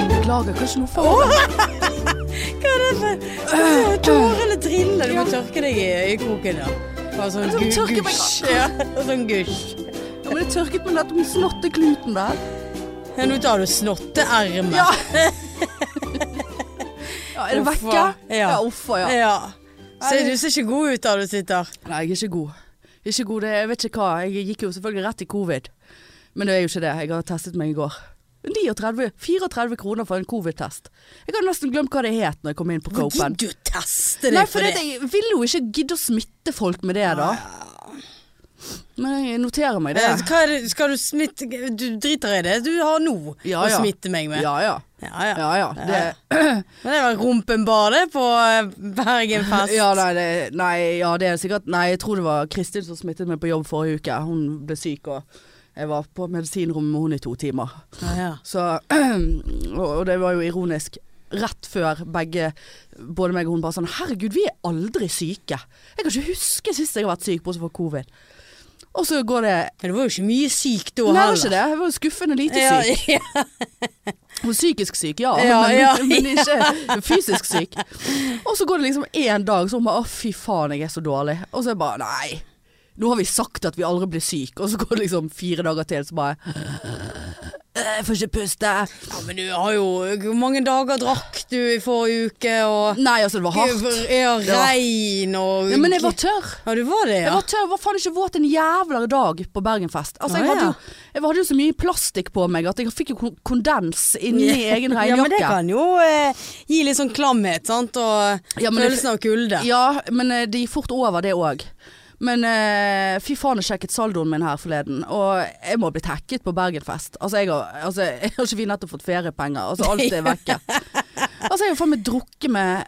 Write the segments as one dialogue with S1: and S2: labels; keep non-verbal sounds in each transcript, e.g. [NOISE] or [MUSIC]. S1: husker ikke noe for [LAUGHS] meg.
S2: Hva er det for Tårer eller driller? Du må tørke deg i øyekroken, da. Bare sånn
S1: Jeg må
S2: gu-
S1: tørke meg
S2: gusj. Ja, sånn gusj.
S1: Ja, men det tørket på nettopp den snottekluten der.
S2: Ja, nå tar du snotteermet.
S1: Ja. [LAUGHS] ja er det
S2: Uffa.
S1: vekke?
S2: Ja.
S1: ja uffa, ja.
S2: Ja.
S1: Nei,
S2: Se, du ser ikke god ut der du sitter.
S1: Nei, jeg er ikke god. Jeg er ikke god, det, jeg vet ikke hva. Jeg gikk jo selvfølgelig rett i covid. Men det er jo ikke det. Jeg har testet meg i går. 39, 34 kroner for en covid-test. Jeg hadde nesten glemt hva det het når jeg kom inn på
S2: Hvor
S1: Copen.
S2: gidder du å teste
S1: Nei,
S2: deg
S1: for
S2: for det?
S1: jeg vil jo ikke gidde å smitte folk med det, da. Men jeg noterer meg det.
S2: Eh, Hva er det? Skal du smitte Du driter i det du har nå
S1: Ja,
S2: å
S1: ja.
S2: smitte meg med. Eh,
S1: Ja ja.
S2: ja. ja.
S1: ja, ja. Det,
S2: Men det var rumpenbadet på eh, Bergenfest.
S1: ja, nei, det, nei, ja, det er sikkert Nei, jeg tror det var Kristin som smittet meg på jobb forrige uke. Hun ble syk, og jeg var på medisinrommet med hun i to timer.
S2: Ja, ja.
S1: Så, [CLEARS THROAT] og og det var jo ironisk. Rett før begge, både meg og hun, bare sånn Herregud, vi er aldri syke. Jeg kan ikke huske sist jeg har vært syk, bortsett fra covid. Og så går det
S2: Men det var jo ikke mye syk da
S1: Nei, det var
S2: heller.
S1: ikke det. Jeg var skuffende lite
S2: Ja,
S1: syk.
S2: ja.
S1: Hun er psykisk syk, ja,
S2: Ja,
S1: [LAUGHS] men,
S2: ja,
S1: men ikke fysisk syk. Og så går det liksom én dag, så hun bare Å, fy faen, jeg er så dårlig. Og så er jeg bare Nei. Nå har vi sagt at vi aldri blir syke, og så går det liksom fire dager til, så bare
S2: Eh,
S1: «Øh, Jeg får ikke puste.
S2: Ja, men du har jo Hvor mange dager drakk du i forrige uke? Og
S1: Nei, altså, det var hardt.
S2: Ja,
S1: Ja.
S2: regn og
S1: Ja, men jeg var tørr.
S2: Ja, du var det,
S1: Jeg
S2: ja.
S1: var tørr, var faen ikke våt en jævla dag på Bergenfest. Altså, jeg,
S2: Ah,
S1: hadde
S2: ja.
S1: jo, jeg hadde jo så mye plastikk på meg at jeg fikk jo kon- kondens inni egen
S2: Ja, men
S1: regnjakke.
S2: det kan jo eh, gi litt sånn klamhet, sant, og
S1: Ja, men det-
S2: følelsen av kulde.
S1: Ja, men eh, det gikk fort over det òg. Men eh, fy faen, jeg sjekket saldoen min her forleden, og jeg må bli tagget på Bergenfest. Altså, jeg har, altså, [LAUGHS] jeg har ikke vi nettopp fått feriepenger? Altså, alt er vekke. Altså, jeg har faen meg drukket med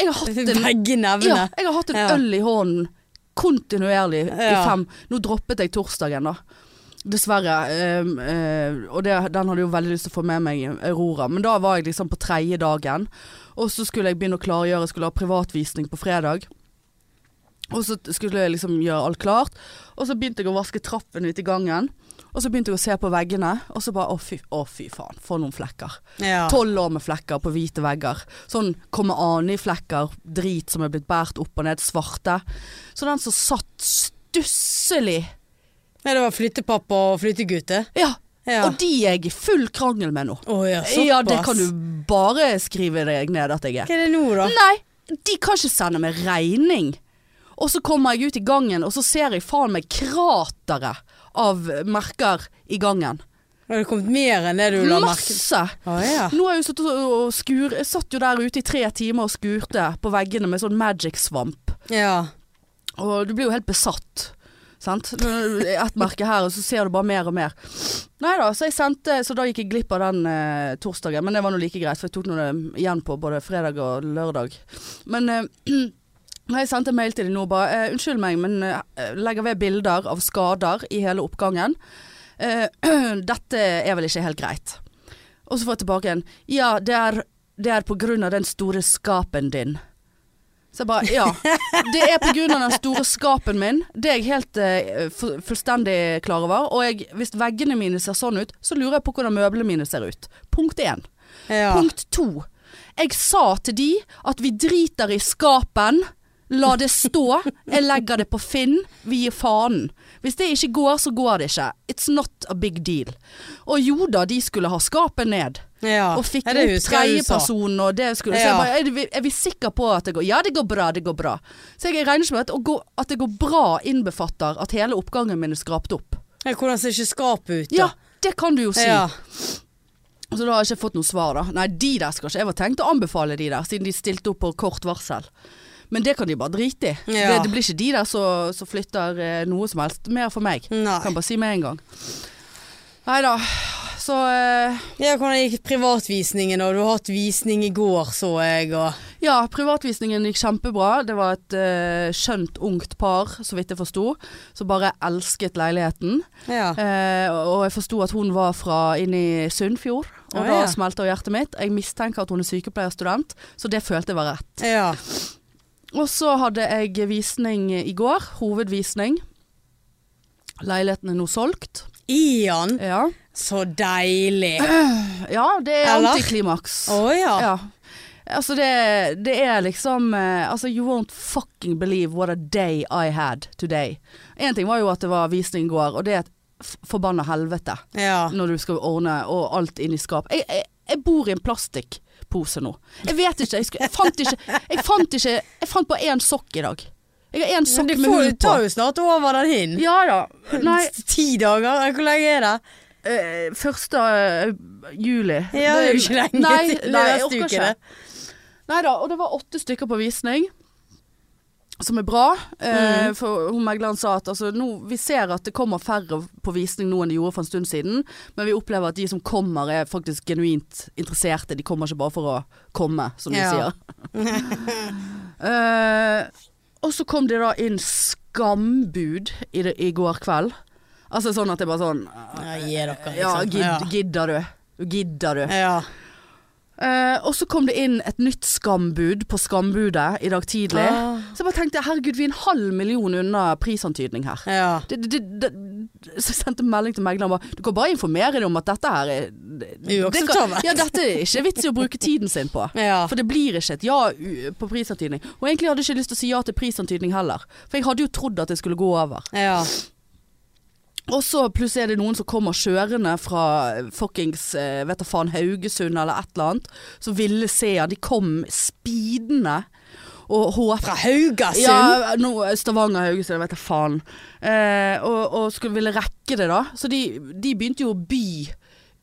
S1: Jeg har
S2: [LAUGHS]
S1: hatt en
S2: [LAUGHS] Begge nevene.
S1: Ja, jeg har hatt en
S2: Ja.
S1: øl i hånden kontinuerlig i
S2: Ja.
S1: fem. Nå droppet jeg torsdagen, da. Dessverre. Ehm, eh, og det, den hadde jeg jo veldig lyst til å få med meg, Aurora. Men da var jeg liksom på tredje dagen. Og så skulle jeg begynne å klargjøre, skulle ha privatvisning på fredag. Og så t- skulle jeg liksom gjøre alt klart. Og så begynte jeg å vaske trappen ute i gangen. Og så begynte jeg å se på veggene, og så bare å fy, å fy faen, for noen flekker.
S2: Ja.
S1: Tolv år med flekker på hvite vegger. Sånn komme ani-flekker, drit som er blitt båret opp og ned, svarte. Så den som satt stusselig
S2: Nei, det var flyttepappa og flyttegute.
S1: Ja,
S2: Ja.
S1: og de er jeg i full krangel med nå.
S2: Å ja, såpass.
S1: Ja, det kan du bare skrive deg ned at jeg er.
S2: Hva er det nå, da?
S1: Nei, de kan ikke sende meg regning. Og så kommer jeg ut i gangen, og så ser jeg faen meg krateret av merker i gangen.
S2: Har det kommet mer enn det du la merke til?
S1: Masse!
S2: Å ja.
S1: Nå har jeg jo satt og skur, jeg satt jo der ute i tre timer og skurte på veggene med sånn magic-svamp.
S2: ja.
S1: Og du blir jo helt besatt. Sant? Ett merke her, og så ser du bare mer og mer. Nei da, så jeg sendte Så da gikk jeg glipp av den eh, torsdagen, men det var nå like greit, for jeg tok nå det igjen på både fredag og lørdag. Men eh, [CLEARS THROAT] Nei, jeg sendte mail til dem nå bare eh, Unnskyld meg, men eh, legger ved bilder av skader i hele oppgangen. Eh, [CLEARS THROAT] dette er vel ikke helt greit. Og så får jeg tilbake en Ja, det er, det er på grunn av den store skapen din. Så jeg bare Ja. Det er på grunn av den store skapen min. Det er jeg helt eh, fu- fullstendig klar over. Og jeg, hvis veggene mine ser sånn ut, så lurer jeg på hvordan møblene mine ser ut. Punkt én.
S2: ja.
S1: Punkt to. Jeg sa til de at vi driter i skapen. La det stå. Jeg legger det på Finn. Vi gir faen. Hvis det ikke går, så går det ikke. It's not a big deal. Og jo da, de skulle ha skapet ned.
S2: ja.
S1: Og fikk
S2: Ja,
S1: opp
S2: det husker jeg du sa.
S1: tredjepersonen og det skulle Så
S2: Ja.
S1: jeg bare, er, vi, er vi sikre på at det går? Ja, det går bra, det går bra. Så jeg regner ikke med at, å gå, at det går bra innbefatter at hele oppgangen min er skrapt opp.
S2: Ja, Hvordan ser ikke skapet ut, da?
S1: Ja, det kan du jo si.
S2: Ja.
S1: Så da har jeg ikke fått noe svar, da. Nei, de der skal ikke Jeg var tenkt å anbefale de der, siden de stilte opp på kort varsel. Men det kan de bare drite i.
S2: Ja.
S1: Det, det blir ikke de der som som flytter eh, noe som helst mer for meg.
S2: Nei.
S1: Kan bare si med en gang. Nei da. Så eh,
S2: Ja, hvordan gikk privatvisningen da? Du har hatt visning i går, så jeg, og
S1: Ja, privatvisningen gikk kjempebra. Det var et eh, skjønt ungt par, så vidt jeg forsto, som bare elsket leiligheten.
S2: Ja.
S1: Eh, og jeg forsto at hun var fra inn i Sunnfjord, og
S2: Å,
S1: da
S2: ja.
S1: smelta hjertet mitt. Jeg mistenker at hun er sykepleierstudent, så det følte jeg var rett.
S2: ja.
S1: Og så hadde jeg visning i går, hovedvisning. Leiligheten er nå solgt.
S2: Ian?
S1: Ja.
S2: Så
S1: [CLEARS THROAT]
S2: deilig.
S1: Ja, det er
S2: Eller?
S1: antiklimaks.
S2: Å ja.
S1: Ja. Altså det, det er liksom eh, Altså you won't fucking believe what a day I had today. Én ting var jo at det var visning i går, og det er et f- forbanna helvete
S2: ja.
S1: når du skal ordne og alt inn i skap. Jeg, jeg, jeg bor i en plastikkpose nå. Jeg vet ikke. Jeg, skulle, jeg fant ikke Jeg fant ikke Jeg fant bare én sokk i dag. Jeg har én
S2: Men
S1: sokk
S2: det
S1: med
S2: får,
S1: hull
S2: det
S1: på.
S2: tar jo snart over den hin.
S1: Ja da.
S2: [LAUGHS]
S1: Nei,
S2: Ti dager? eller Hvor lenge er det?
S1: eh, første eh, juli.
S2: Ja, det er jo ikke lenge
S1: nei,
S2: til
S1: Nei, jeg
S2: neste
S1: orker
S2: uke,
S1: ikke.
S2: det.
S1: Nei da, og det var åtte stykker på visning. Som er bra. Eh, for hun megleren sa at altså, nå, vi ser at det kommer færre på visning nå enn det gjorde for en stund siden. Men vi opplever at de som kommer er faktisk genuint interesserte. De kommer ikke bare for å komme, som de
S2: Ja.
S1: sier. [LAUGHS] eh, og så kom det da inn skambud i, det, i går kveld. Altså sånn at det bare sånn
S2: Ja, gi dere,
S1: Ja,
S2: liksom.
S1: gid, gidder du? Gidder du?
S2: Ja. ja.
S1: Eh, og så kom det inn et nytt skambud på Skambudet i dag tidlig.
S2: Ah.
S1: Så jeg bare tenkte herregud, vi er en halv million unna prisantydning her.
S2: ja.
S1: Det, det, det, det, så jeg sendte melding til megleren og bare Du kan bare informere dem om at dette her er det- det kan-
S2: Uakseptabelt.
S1: Ja, dette er ikke vits i å bruke tiden sin på.
S2: Ja.
S1: For det blir ikke et ja u- på prisantydning. Og egentlig hadde jeg ikke lyst til å si ja til prisantydning heller. For jeg hadde jo trodd at det skulle gå over.
S2: ja.
S1: Og så plutselig er det noen som kommer kjørende fra fuckings eh, vet da faen Haugesund eller et eller annet, som ville se han. De kom speedende og håpet
S2: Fra Haugasund?
S1: ja, no, Stavanger, Haugesund, jeg vet da faen. Eh, og og skulle ville rekke det, da. Så de, de begynte jo å by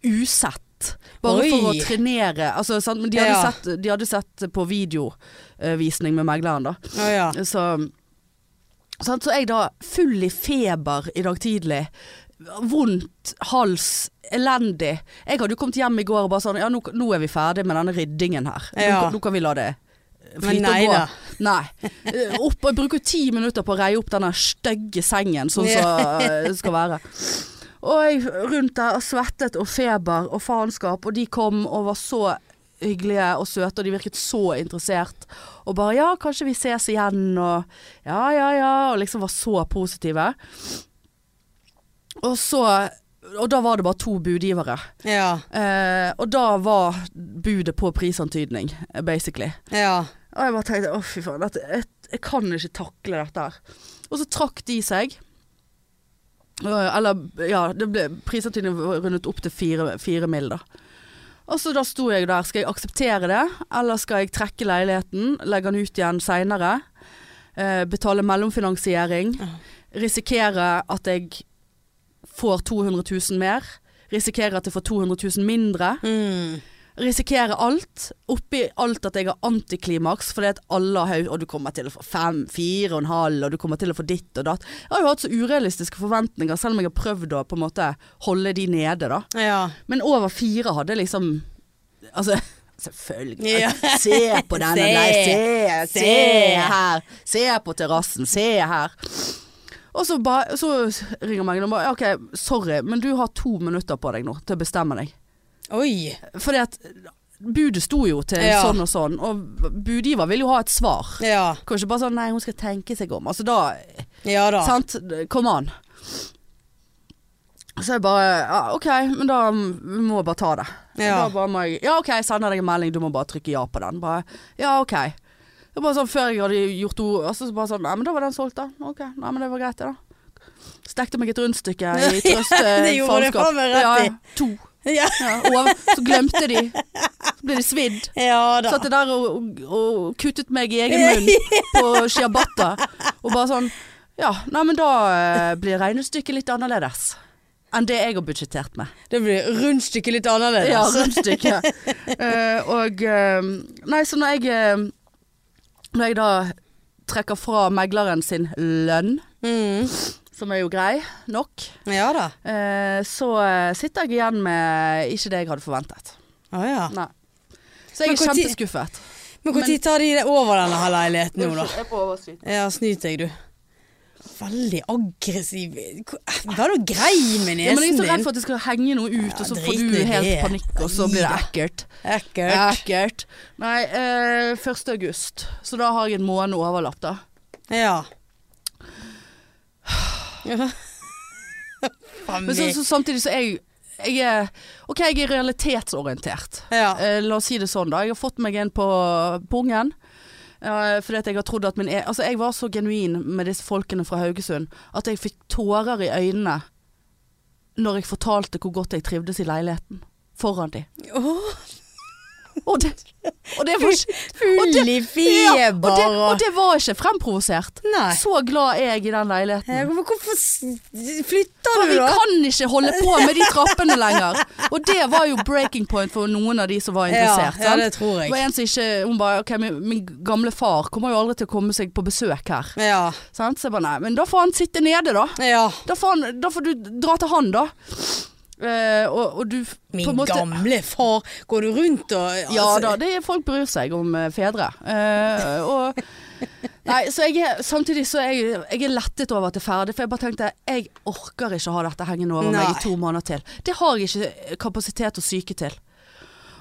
S1: usett. Bare
S2: Oi.
S1: for å trenere. Altså, sant? Men de hadde,
S2: Ja.
S1: sett, de hadde sett på videovisning med megleren, da.
S2: Å, ja.
S1: Så, sant? så jeg da full i feber i dag tidlig. Vondt, hals, elendig. Jeg hadde jo kommet hjem i går og bare sånn Ja, nå, nå er vi ferdig med denne ryddingen her. Nå,
S2: Ja.
S1: nå kan vi la det flyte
S2: Men nei
S1: og gå.
S2: da.
S1: Nei. Eh, Opp, jeg bruker jo ti minutter på å reie opp denne stygge sengen sånn som det skal være. Og jeg rundt der og svettet og feber og faenskap, og de kom og var så hyggelige og søte, og de virket så interessert. Og bare 'ja, kanskje vi ses igjen', og 'ja, ja, ja', og liksom var så positive. Og så Og da var det bare to budgivere.
S2: Ja.
S1: Eh, og da var budet på prisantydning, eh, basically.
S2: Ja.
S1: Og jeg bare tenkte å fy faen, dette, jeg, jeg kan ikke takle dette her. Og så trakk de seg. Øh, Eller ja, det ble prisantydningen var rundet opp til fire, fire mil da. Og så da sto jeg der, skal jeg akseptere det, eller skal jeg trekke leiligheten, legge den ut igjen seinere, eh, betale mellomfinansiering, risikere at jeg får 200 000 mer, risikere at jeg får 200 000 mindre
S2: Mm.
S1: risikere alt. Oppi alt at jeg har antiklimaks fordi at alle har haug- Og du kommer til å få fem, fire og en halv, og du kommer til å få ditt og datt. Jeg har jo hatt så urealistiske forventninger, selv om jeg har prøvd å på en måte holde de nede, da.
S2: ja.
S1: Men over fire hadde jeg liksom Altså, [LAUGHS] selvfølgelig.
S2: Ja.
S1: [LAUGHS] Se på
S2: [LAUGHS]
S1: denne,
S2: Se.
S1: nei, se, se
S2: Se.
S1: her. Se på terrassen, se her. Og så, ba, så ringer Magne og bare OK, sorry, men du har to minutter på deg nå til å bestemme deg.
S2: Oi.
S1: Fordi at budet sto jo til
S2: Ja.
S1: sånn og sånn, og budgiver vil jo ha et svar.
S2: Ja.
S1: Kan ikke bare sånn 'nei, hun skal tenke seg om'. Altså da
S2: Ja da.
S1: Sant? Kom an. Så jeg bare ja, 'OK, men da må jeg bare ta det'.
S2: Ja.
S1: Da bare må jeg 'ja, OK, jeg sender deg en melding, du må bare trykke ja på den'. Bare 'ja, OK'. Det var bare sånn Før jeg hadde gjort ord altså, så bare sånn 'nei, men da var den solgt, da'. Ok, nei, men det var greit, det, da. Stekte meg et
S2: [LAUGHS]
S1: rundstykke i trøst eh,
S2: Det gjorde det
S1: faenskap.
S2: faen meg rett
S1: Ja,
S2: i.
S1: ja, to.
S2: Ja,
S1: Ja, og så glemte de. Så ble de svidd.
S2: ja da.
S1: Satt jeg der og, og, og kuttet meg i egen munn på ciabatta. Og bare sånn Ja, nei, men da eh, blir regnestykket litt annerledes. Enn det jeg har budsjettert med.
S2: Det blir rundstykket litt annerledes.
S1: Ja, rundstykket. Eh, og eh, Nei, så når jeg eh, Når jeg da trekker fra megleren sin lønn,
S2: Mm.
S1: som er jo grei nok,
S2: Ja da.
S1: eh, så eh, sitter jeg igjen med ikke det jeg hadde forventet.
S2: Å ja.
S1: Nei. Så jeg er
S2: Men hvor ti-
S1: kjempeskuffet.
S2: Men når tar de det over denne her leiligheten nå, da?
S1: Jeg er på overskudd.
S2: Ja, snyt deg, du. Veldig aggressiv Hvor- Hva er det du grei med
S1: Ja, men jeg er
S2: nesen
S1: så redd
S2: din?
S1: for at det skal henge noe ut, og så
S2: Ja,
S1: får
S2: drit
S1: du
S2: i
S1: helt
S2: det.
S1: panikk, og så blir det ekkelt.
S2: Ekkelt.
S1: Ekkelt. Nei, eh, 1. august, så da har jeg en måned overlapp, da.
S2: Ja. ja.
S1: [SIGHS]
S2: Faen
S1: Men så,
S2: meg.
S1: så samtidig så er jeg jeg er, ok, jeg er realitetsorientert.
S2: Ja.
S1: Eh, la oss si det sånn, da. Jeg har fått meg en på pungen. eh, fordi at jeg har trodd at min e Altså, jeg var så genuin med disse folkene fra Haugesund at jeg fikk tårer i øynene når jeg fortalte hvor godt jeg trivdes i leiligheten. Foran de.
S2: Åh,
S1: Og det, og det
S2: [LAUGHS]
S1: var ikke Og
S2: Full
S1: ja, og,
S2: i
S1: det,
S2: feber
S1: og
S2: og
S1: det var ikke fremprovosert.
S2: Nei.
S1: Så glad er jeg i den leiligheten.
S2: Ja, men Hvorfor s- flytter
S1: For
S2: du,
S1: vi
S2: da?
S1: kan ikke holde på med de trappene lenger. Og det var jo breaking point for noen av de som var interessert.
S2: ja,
S1: sant?
S2: det tror
S1: Det var
S2: jeg.
S1: en som ikke Hun bare OK, min, min gamle far kommer jo aldri til å komme seg på besøk her.
S2: Ja.
S1: Sant? Så jeg bare nei, men da får han sitte nede, da.
S2: ja.
S1: Da får, han, da får du dra til han, da. Eh, og, og du f- på en
S2: Min
S1: måte,
S2: gamle far, går du rundt og
S1: Ja
S2: altså,
S1: da, det er folk bryr seg om eh, fedre. Eh, og [LAUGHS] Nei, så jeg er Samtidig så er jeg, jeg er lettet over at det er ferdig, for jeg bare tenkte jeg orker ikke ha dette hengende over meg
S2: Nei.
S1: i to måneder til. Det har jeg ikke kapasitet og syke til.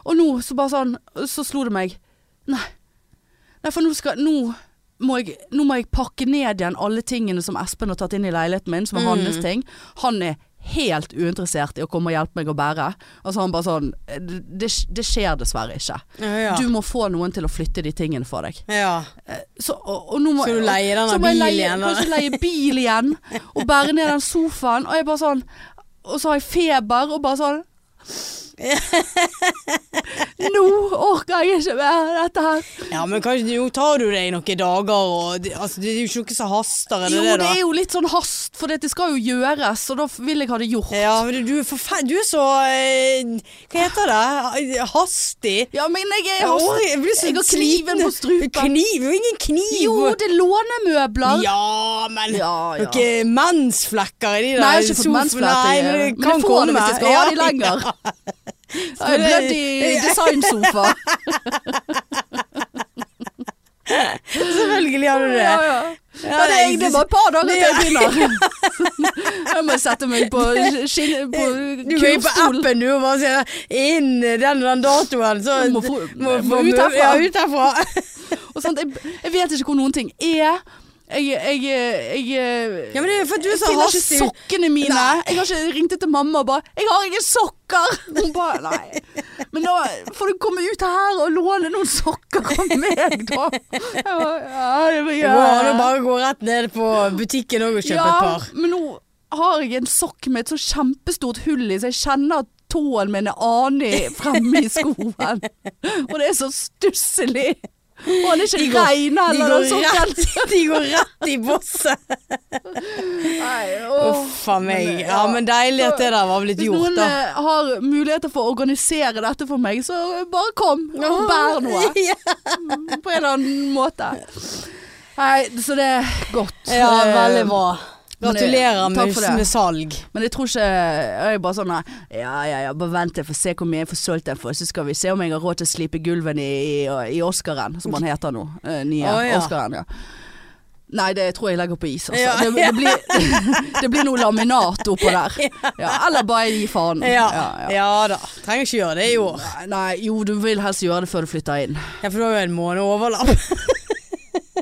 S1: Og nå så bare sånn Så slo det meg. Nei. Nei, for nå skal Nå må jeg, nå må jeg pakke ned igjen alle tingene som Espen har tatt inn i leiligheten min, som er
S2: Mm.
S1: hans ting. Han er helt uinteressert i å komme og hjelpe meg å bære. Altså han bare sånn Det, det skjer dessverre ikke.
S2: Ja, ja.
S1: Du må få noen til å flytte de tingene for deg.
S2: ja.
S1: Så, og, og nå må,
S2: Skal du leie denne
S1: så må jeg
S2: bilen
S1: leie-
S2: igjen, da?
S1: Kanskje leie bil igjen, og bære ned den sofaen. Og jeg bare sånn Og så har jeg feber, og bare
S2: [LAUGHS]
S1: sånn Nå orker jeg ikke mer dette her.
S2: ja, men kanskje jo tar du deg noen dager og det- altså, Det er jo ikke noe som haster, er det
S1: Jo,
S2: det,
S1: det
S2: da?
S1: er jo litt sånn hast, for det skal jo gjøres, og da vil jeg ha det gjort.
S2: Ja, men du er forfe... Du er så eh, Hva heter det? Eh, Hastig.
S1: Ja, men jeg er
S2: Jeg,
S1: hast.
S2: har- jeg blir så
S1: Jeg har kniven på strupen.
S2: Kniv? Jo, ingen kniv.
S1: Jo, det er lånemøbler.
S2: Ja, men
S1: ja. ja.
S2: Noen mensflekker i de der
S1: Nei, jeg har ikke fått
S2: sofaene.
S1: mensfletter.
S2: Nei,
S1: jeg.
S2: men det
S1: Men
S2: kan
S1: jeg får det
S2: komme.
S1: hvis jeg skal ha de
S2: Ja.
S1: lenger. Jeg er blødd i designsofa.
S2: [LAUGHS] [LAUGHS] Selvfølgelig har du det.
S1: Ja, ja. Ja, det, er, det er bare et par dager til jeg
S2: [LAUGHS]
S1: begynner. [LAUGHS] Jeg må sette meg på skinn... På
S2: Du går inn på
S1: kurvstol.
S2: appen du og bare sier 'inn den og den datoen', så
S1: Må få- må
S2: få-
S1: ut herfra.
S2: Ja, ut herfra. [LAUGHS]
S1: Og sånt. Jeg, jeg vet ikke hvor noen ting er. Jeg, jeg, jeg, eh, jeg
S2: Ja, men det er for at du er
S1: Jeg
S2: så
S1: finner ikke
S2: hastig.
S1: sokkene mine.
S2: Nei.
S1: Jeg har ikke ringt til mamma og bare 'Jeg har ikke sokker!' Hun bare Nei. Men da får du komme ut her og låne noen sokker av meg, da. Jeg bare, Ja, det var
S2: Det går an å bare gå rett ned på butikken og kjøpe et par.
S1: men nå har jeg en sokk med et så kjempestort hull i, så jeg kjenner at tåen min er anig fremme i skoen. Og det er så stusslig. Og han er
S2: De
S1: ikke
S2: går-
S1: rein
S2: De
S1: heller,
S2: går,
S1: den sokken.
S2: rett, [LAUGHS] de går rett i bosset.
S1: Nei, åh.
S2: Uff a meg.
S1: Men,
S2: Ja,
S1: ja.
S2: men deilig at det der var blitt
S1: Hvis
S2: gjort,
S1: noen
S2: da.
S1: eh, har muligheter for å organisere dette for meg, så bare kom og bær
S2: [LAUGHS]
S1: noe.
S2: Ja.
S1: På en eller annen måte. Nei, så det er godt.
S2: Ja,
S1: Eh,
S2: veldig bra.
S1: men det-
S2: Gratulerer
S1: takk for
S2: med,
S1: det.
S2: med salg.
S1: Men jeg tror ikke Jeg er bare sånn nei, Ja, ja, ja, bare vent til jeg får se hvor mye jeg får solgt den for, så skal vi se om jeg har råd til å slipe gulven i, i, i Oscaren, som han heter nå. eh, Nye
S2: Å, ja.
S1: Oscaren, ja. Nei, det tror jeg legger på is, altså.
S2: Ja.
S1: Det, det, blir,
S2: [LAUGHS]
S1: [LAUGHS] det blir noe laminat oppå der. Ja, eller bare gi faen.
S2: Ja, ja da. Trenger ikke gjøre det i år.
S1: Nei, jo, du vil helst gjøre det før du flytter inn.
S2: Ja, for du har jo en måned overlapp. [LAUGHS]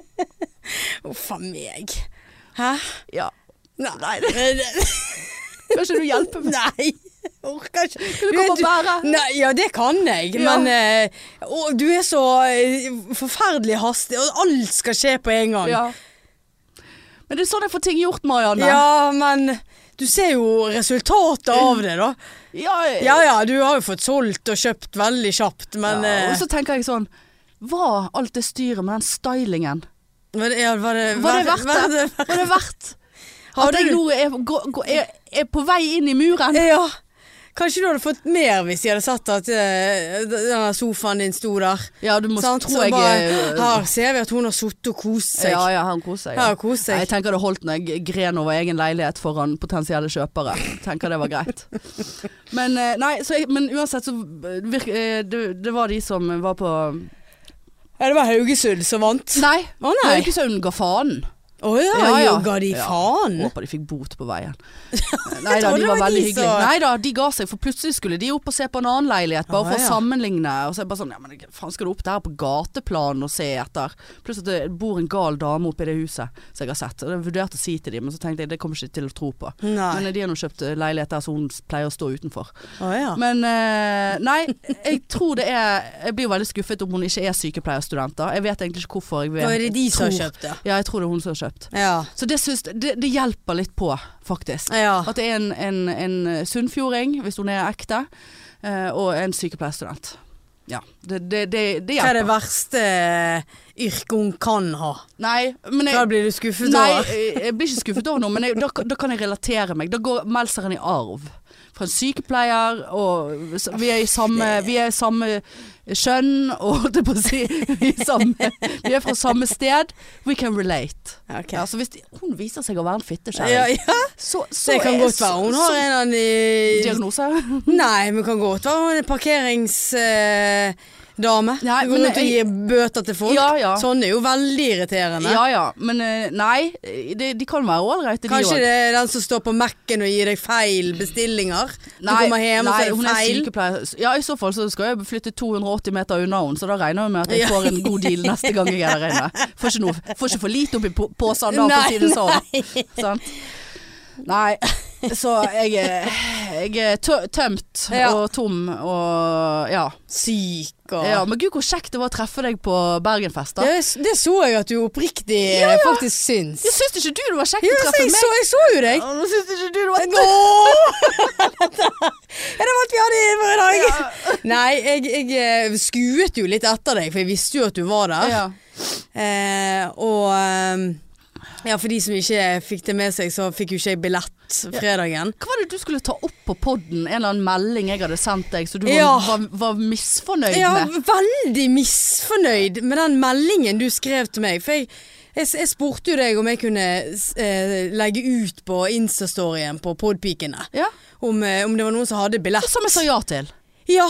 S2: Uff a meg. Hæ?
S1: Ja.
S2: Nei. [LAUGHS] Nei.
S1: Kan ikke du hjelpe [LAUGHS] meg?
S2: Orker ikke.
S1: Du kommer og bærer.
S2: Nei, ja, det kan jeg,
S1: Ja.
S2: men eh, å, du er så eh, forferdelig hastig, og alt skal skje på en gang.
S1: Ja. Men det er sånn jeg får ting gjort, Marianne.
S2: Ja, men du ser jo resultatet av det, da.
S1: ja,
S2: Ja ja, du har jo fått solgt og kjøpt veldig kjapt, men
S1: ja,
S2: eh,
S1: Og så tenker jeg sånn Var alt det styret med den stylingen
S2: var, det, eh, ja, var, det,
S1: Var det verdt
S2: var
S1: det? Var det [LAUGHS] verdt
S2: Hadde
S1: at jeg
S2: du-
S1: nå er, gå- gå- er, er på vei inn i muren?
S2: Ja. Kanskje du hadde fått mer hvis de hadde sett at eh, denne sofaen din sto der.
S1: Ja, du må
S2: Sant?
S1: tro
S2: Så
S1: jeg
S2: bare,
S1: eh,
S2: Her ser vi at hun har sittet og kost seg.
S1: Ja, ja, han koser seg.
S2: Her
S1: Ja.
S2: har kost
S1: Nei, Jeg
S2: seg.
S1: tenker det holdt når jeg gren over egen leilighet foran potensielle kjøpere. Tenker det var greit. Men, eh, nei, så jeg, men uansett så eh, virk, eh, det, det var de som var på
S2: Ja, det var Haugesund som vant.
S1: Nei,
S2: Å nei.
S1: Haugesund ga faen.
S2: Å ja,
S1: Ja, ja.
S2: jogga de
S1: Ja.
S2: faen?
S1: Håper de fikk bot på
S2: [LAUGHS]
S1: veien. Nei da,
S2: trodde
S1: de var
S2: det var
S1: veldig
S2: de som-
S1: hyggelige. Nei da, de ga seg, for plutselig skulle de opp og se på en annen leilighet, bare
S2: Ah,
S1: for
S2: ja.
S1: å sammenligne. Og så er det bare sånn, ja men hva faen skal du opp der på gateplanen og se etter? Pluss at det bor en gal dame oppe i det huset som jeg har sett. Og jeg vurderte å si til dem, men så tenkte jeg det kommer ikke de til å tro på.
S2: Nei.
S1: Men de har nå kjøpt eh, leilighet der, så hun pleier å stå utenfor.
S2: Å ja.
S1: Men eh, nei, jeg tror det er Jeg blir jo veldig skuffet om hun ikke er sykepleierstudent. da. Jeg vet egentlig ikke hvorfor. Jeg vet,
S2: Da er det de som har
S1: tror-
S2: kjøpt det.
S1: Ja, jeg tror det er hun som har kjøpt.
S2: Ja.
S1: Så det, syns, det, det hjelper litt på, faktisk.
S2: ja.
S1: At det er en, en, en eh, sunnfjording, hvis hun er ekte, eh, og en sykepleierstudent. Ja, det, det, det, det
S2: Hva er det
S1: hjelper.
S2: verste eh, yrket hun kan ha?
S1: Nei, men
S2: Hva
S1: jeg,
S2: blir du skuffet
S1: nei, eh,
S2: over?
S1: jeg jeg blir ikke skuffet over noe, men jeg, da, kan- da kan jeg relatere meg. Da går Melseren i arv. Fra en sykepleier, og s- vi er i samme, vi er i samme kjønn, og [LAUGHS] holdt jeg på å si vi er, i samme, vi er fra samme sted. We can relate.
S2: Ok.
S1: Ja, så hvis de, hun viser seg å være en
S2: Ja,
S1: fittekjerring,
S2: ja.
S1: så, så
S2: Det kan
S1: er-
S2: godt være hun
S1: så-
S2: har en eller annen eh,
S1: Diagnose?
S2: [LAUGHS] Nei, men kan godt være hun er en parkeringsdame.
S1: Nei,
S2: Hun går
S1: men
S2: rundt og
S1: jeg-
S2: gir bøter til folk.
S1: Ja, ja.
S2: Sånn er jo veldig irriterende.
S1: Ja ja, men eh, nei, de, de kan være ålreite, de
S2: Kanskje
S1: også.
S2: det er den som står på Mac-en og gir deg feil bestillinger. Du
S1: Nei,
S2: kommer hjem,
S1: nei,
S2: og
S1: hun er
S2: så er det feil.
S1: sykepleier. Ja, i så fall så skal jeg flytte 280 meter unna henne, så da regner jeg med at
S2: Ja.
S1: jeg får en god deal neste gang jeg er der inne. Får ikke, noe, får ikke for lite oppi po- posen da, for å si det sånn.
S2: nei.
S1: Sant? Nei, så jeg er, jeg er tø tømt
S2: Ja.
S1: og tom og ja.
S2: Syk og
S1: ja. Men gud, hvor kjekt det var å treffe deg på Bergenfest, da.
S2: det, det så jeg at du oppriktig faktisk syns.
S1: Jeg syns ikke du det var kjekt å
S2: Ja, altså,
S1: treffe
S2: jeg,
S1: meg?
S2: så, jeg så jo deg.
S1: Nå syns ikke du det var
S2: [LAUGHS] Er det alt vi hadde for i dag? Nei, jeg, jeg eh, skuet jo litt etter deg, for jeg visste jo at du var der.
S1: Ja.
S2: Eh, og eh, ja, for de som ikke fikk det med seg, så fikk jo ikke jeg billett fredagen.
S1: Hva var det du skulle ta opp på podden? En eller annen melding jeg hadde sendt deg, så du var,
S2: Ja.
S1: var, var misfornøyd
S2: Jeg er
S1: med?
S2: veldig misfornøyd med den meldingen du skrev til meg. For jeg, jeg, jeg spurte jo deg om jeg kunne s- eh, legge ut på Instastoryen på Podpikene.
S1: Ja.
S2: Om, eh, om det var noen som hadde billett.
S1: Som jeg sa ja til. [LAUGHS]
S2: Ja,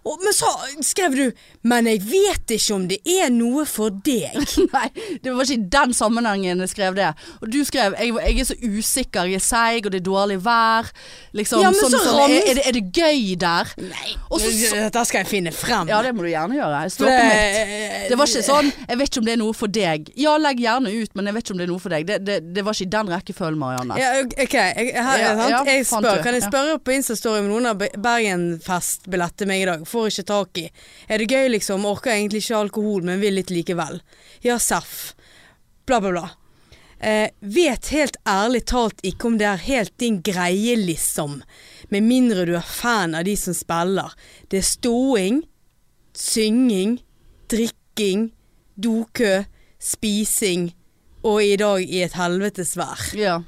S2: og, men så skrev du Men jeg vet ikke om det er noe for deg.
S1: Nei, det var ikke i den sammenhengen jeg skrev det. Og du skrev jeg, 'jeg er så usikker, jeg er seig, og det er dårlig vær'. Liksom,
S2: Ja, men
S1: sånn,
S2: så
S1: sånn,
S2: rams-
S1: er, er, det, er det gøy der?
S2: Nei,
S1: Og så- så-
S2: Dette skal jeg finne frem.
S1: Ja, det må du gjerne gjøre. Jeg står på mitt.
S2: det,
S1: Det var ikke sånn 'jeg vet ikke om det er noe for deg'. Ja, legg gjerne ut, men jeg vet ikke om det er noe for deg. Det, det, det var ikke i den rekkefølgen, Marianne.
S2: ja, OK, jeg, her,
S1: Ja,
S2: sant?
S1: ja,
S2: jeg
S1: fant
S2: spør,
S1: du.
S2: kan jeg
S1: Ja.
S2: spørre på Insta-story om noen har Be- Bergenfest-billett til meg i dag? Får ikke tak i. Er det gøy, liksom? Orker egentlig ikke alkohol, men vil litt likevel. Ja, seff. Bla, bla, bla. Eh, vet helt ærlig talt ikke om det er helt din greie, liksom. Med mindre du er fan av de som spiller. Det er ståing, synging, drikking, dokø, spising og i dag i et helvetes vær.
S1: Ja.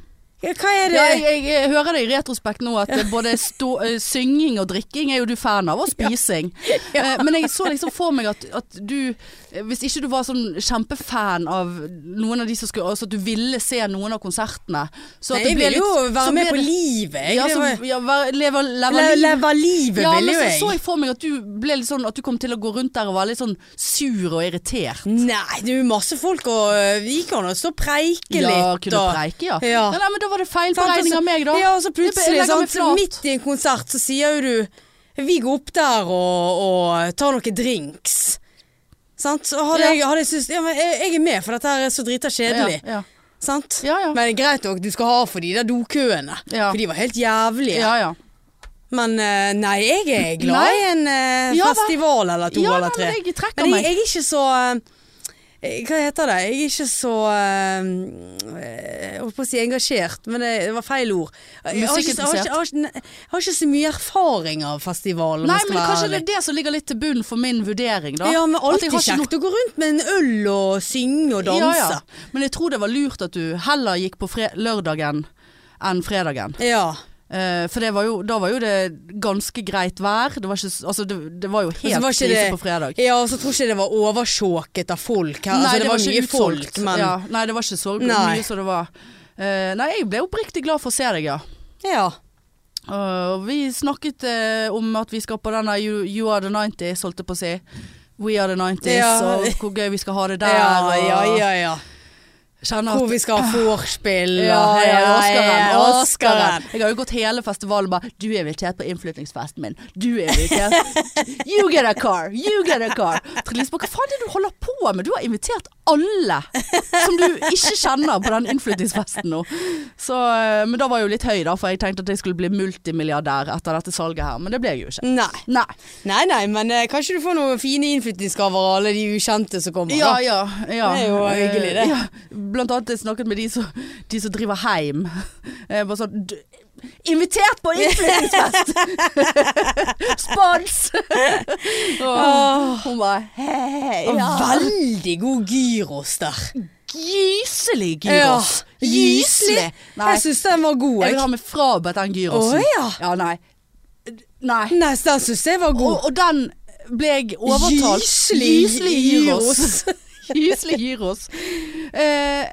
S2: Ja, hva er det?
S1: Ja, jeg, jeg, jeg hører det i retrospekt nå at eh, både stå, eh, synging og drikking er jo du fan av, og
S2: [LAUGHS]
S1: spising. Eh, Men jeg så liksom for meg at, at du eh, Hvis ikke du var sånn kjempefan av noen av de som skulle Altså at du ville se noen av konsertene. Så
S2: Nei,
S1: at det
S2: jeg
S1: ble
S2: vil jo
S1: litt- så
S2: være
S1: ble
S2: med på
S1: det-
S2: livet. Jeg.
S1: Ja,
S2: Det
S1: så,
S2: var-
S1: ja, være- leve, leve
S2: Le-
S1: livet.
S2: Leve livet
S1: Ja,
S2: vil
S1: men
S2: jo
S1: så
S2: jeg.
S1: så jeg for meg at du ble litt sånn At du kom til å gå rundt der og være litt sånn sur og irritert.
S2: Nei, det er jo masse folk og øh, vi kan jo stå og preike
S1: Ja,
S2: litt.
S1: kunne
S2: og-
S1: preike, ja.
S2: Ja.
S1: Nei, nei, men da var det feil
S2: Sant,
S1: beregning
S2: og så-
S1: av meg, da.
S2: Ja, og så
S1: Jeg-
S2: plutselig,
S1: jeg legger meg
S2: sant,
S1: flat.
S2: midt i en konsert så sier jo du Vi går opp der og, og tar noen drinks. Sant? Så hadde,
S1: Ja.
S2: jeg, hadde jeg syntes ja, men jeg, jeg er med, for dette her er så drita kjedelig.
S1: Ja, ja.
S2: Sant?
S1: Ja, ja.
S2: Men det er greit nok, du skal ha for de der dokøene.
S1: Ja.
S2: For de var helt jævlige.
S1: ja, ja.
S2: Men øh, nei, jeg er glad
S1: Nei.
S2: i en øh,
S1: Ja, hva?
S2: festival eller to
S1: ja,
S2: eller
S1: nei,
S2: tre.
S1: men jeg trekker
S2: Men jeg,
S1: meg.
S2: jeg er ikke så eh, Hva heter det? Jeg er ikke så eh, Jeg holdt på å si engasjert, men det, det var feil ord. Eh, Jeg har, ikke, jeg, har ikke, jeg, har ikke, nei, jeg har ikke så mye erfaring av festival. om
S1: Nei,
S2: jeg skal
S1: men
S2: være
S1: kanskje det
S2: ærlig.
S1: er det som ligger litt til bunn for min vurdering, da.
S2: Ja, men
S1: At jeg
S2: alltid
S1: har ikke
S2: kjekt å gå rundt med en øl og synge og
S1: noe-
S2: danse.
S1: Ja, ja. Men jeg tror det var lurt at du heller gikk på fre lørdagen enn fredagen.
S2: Ja.
S1: Eh, for det var jo, da var jo det ganske greit vær. Det var, ikke, s- altså, det, det var jo
S2: så
S1: helt
S2: var ikke
S1: krise
S2: det-
S1: på fredag.
S2: Ja, og så tror jeg ikke det var oversjåket av folk her. altså, det, var, mye
S1: utsolgt.
S2: folk, men
S1: ja, Nei, det var ikke så
S2: Nei.
S1: mye som det var. Eh, nei, jeg ble oppriktig glad for å se deg, ja.
S2: ja.
S1: Eh, og vi snakket eh, om at vi skal på denne you, you Are The 90s, holdt jeg på å si. We Are The 90s,
S2: Ja. [LAUGHS]
S1: og hvor gøy vi skal ha det der.
S2: Ja, ja,
S1: og-
S2: ja, ja.
S1: Kjenner
S2: Hvor
S1: at
S2: vi skal ha vorspiel og
S1: ja, ja, ja,
S2: Ah, ja,
S1: Oscaren, Oscaren.
S2: Oscaren.
S1: Jeg har jo gått hele festivalen bare Du er invitert på innflytningsfesten min. Du er invitert. You get a car. You get a car. Trine Lise bare, hva faen er det du holder på med? Du har invitert alle som du ikke kjenner på den innflytningsfesten nå. Så, eh, men da var jeg jo litt høy, da, for jeg tenkte at jeg skulle bli multimilliardær etter dette salget her. Men det ble jeg jo ikke.
S2: Nei.
S1: Nei.
S2: nei, nei, men eh, kanskje du får noen fine innflyttingsgaver av alle de ukjente som kommer.
S1: Ja,
S2: da.
S1: ja, ja.
S2: Det er jo
S1: Eh,
S2: hyggelig, det.
S1: Ja. Blant annet jeg snakket med de som, de som driver heim. Eh, Bare sånn "Du- Invitert på
S2: [LAUGHS]
S1: innflyttingsfest! Spons! og hun bare Hei,
S2: Og
S1: ja.
S2: Veldig god gyros der.
S1: Gyselig gyros.
S2: Ja, Gyselig.
S1: Nei,
S2: Jeg syns den var god.
S1: jeg vil
S2: Jeg.
S1: ha meg frabedt den gyrosen.
S2: Å, ja.
S1: ja, nei. Nei.
S2: Nei, den syns jeg var god.
S1: Og, og den ble jeg overtalt.
S2: Gyselig gyros.
S1: [LAUGHS] Gyselig gyros. Eh,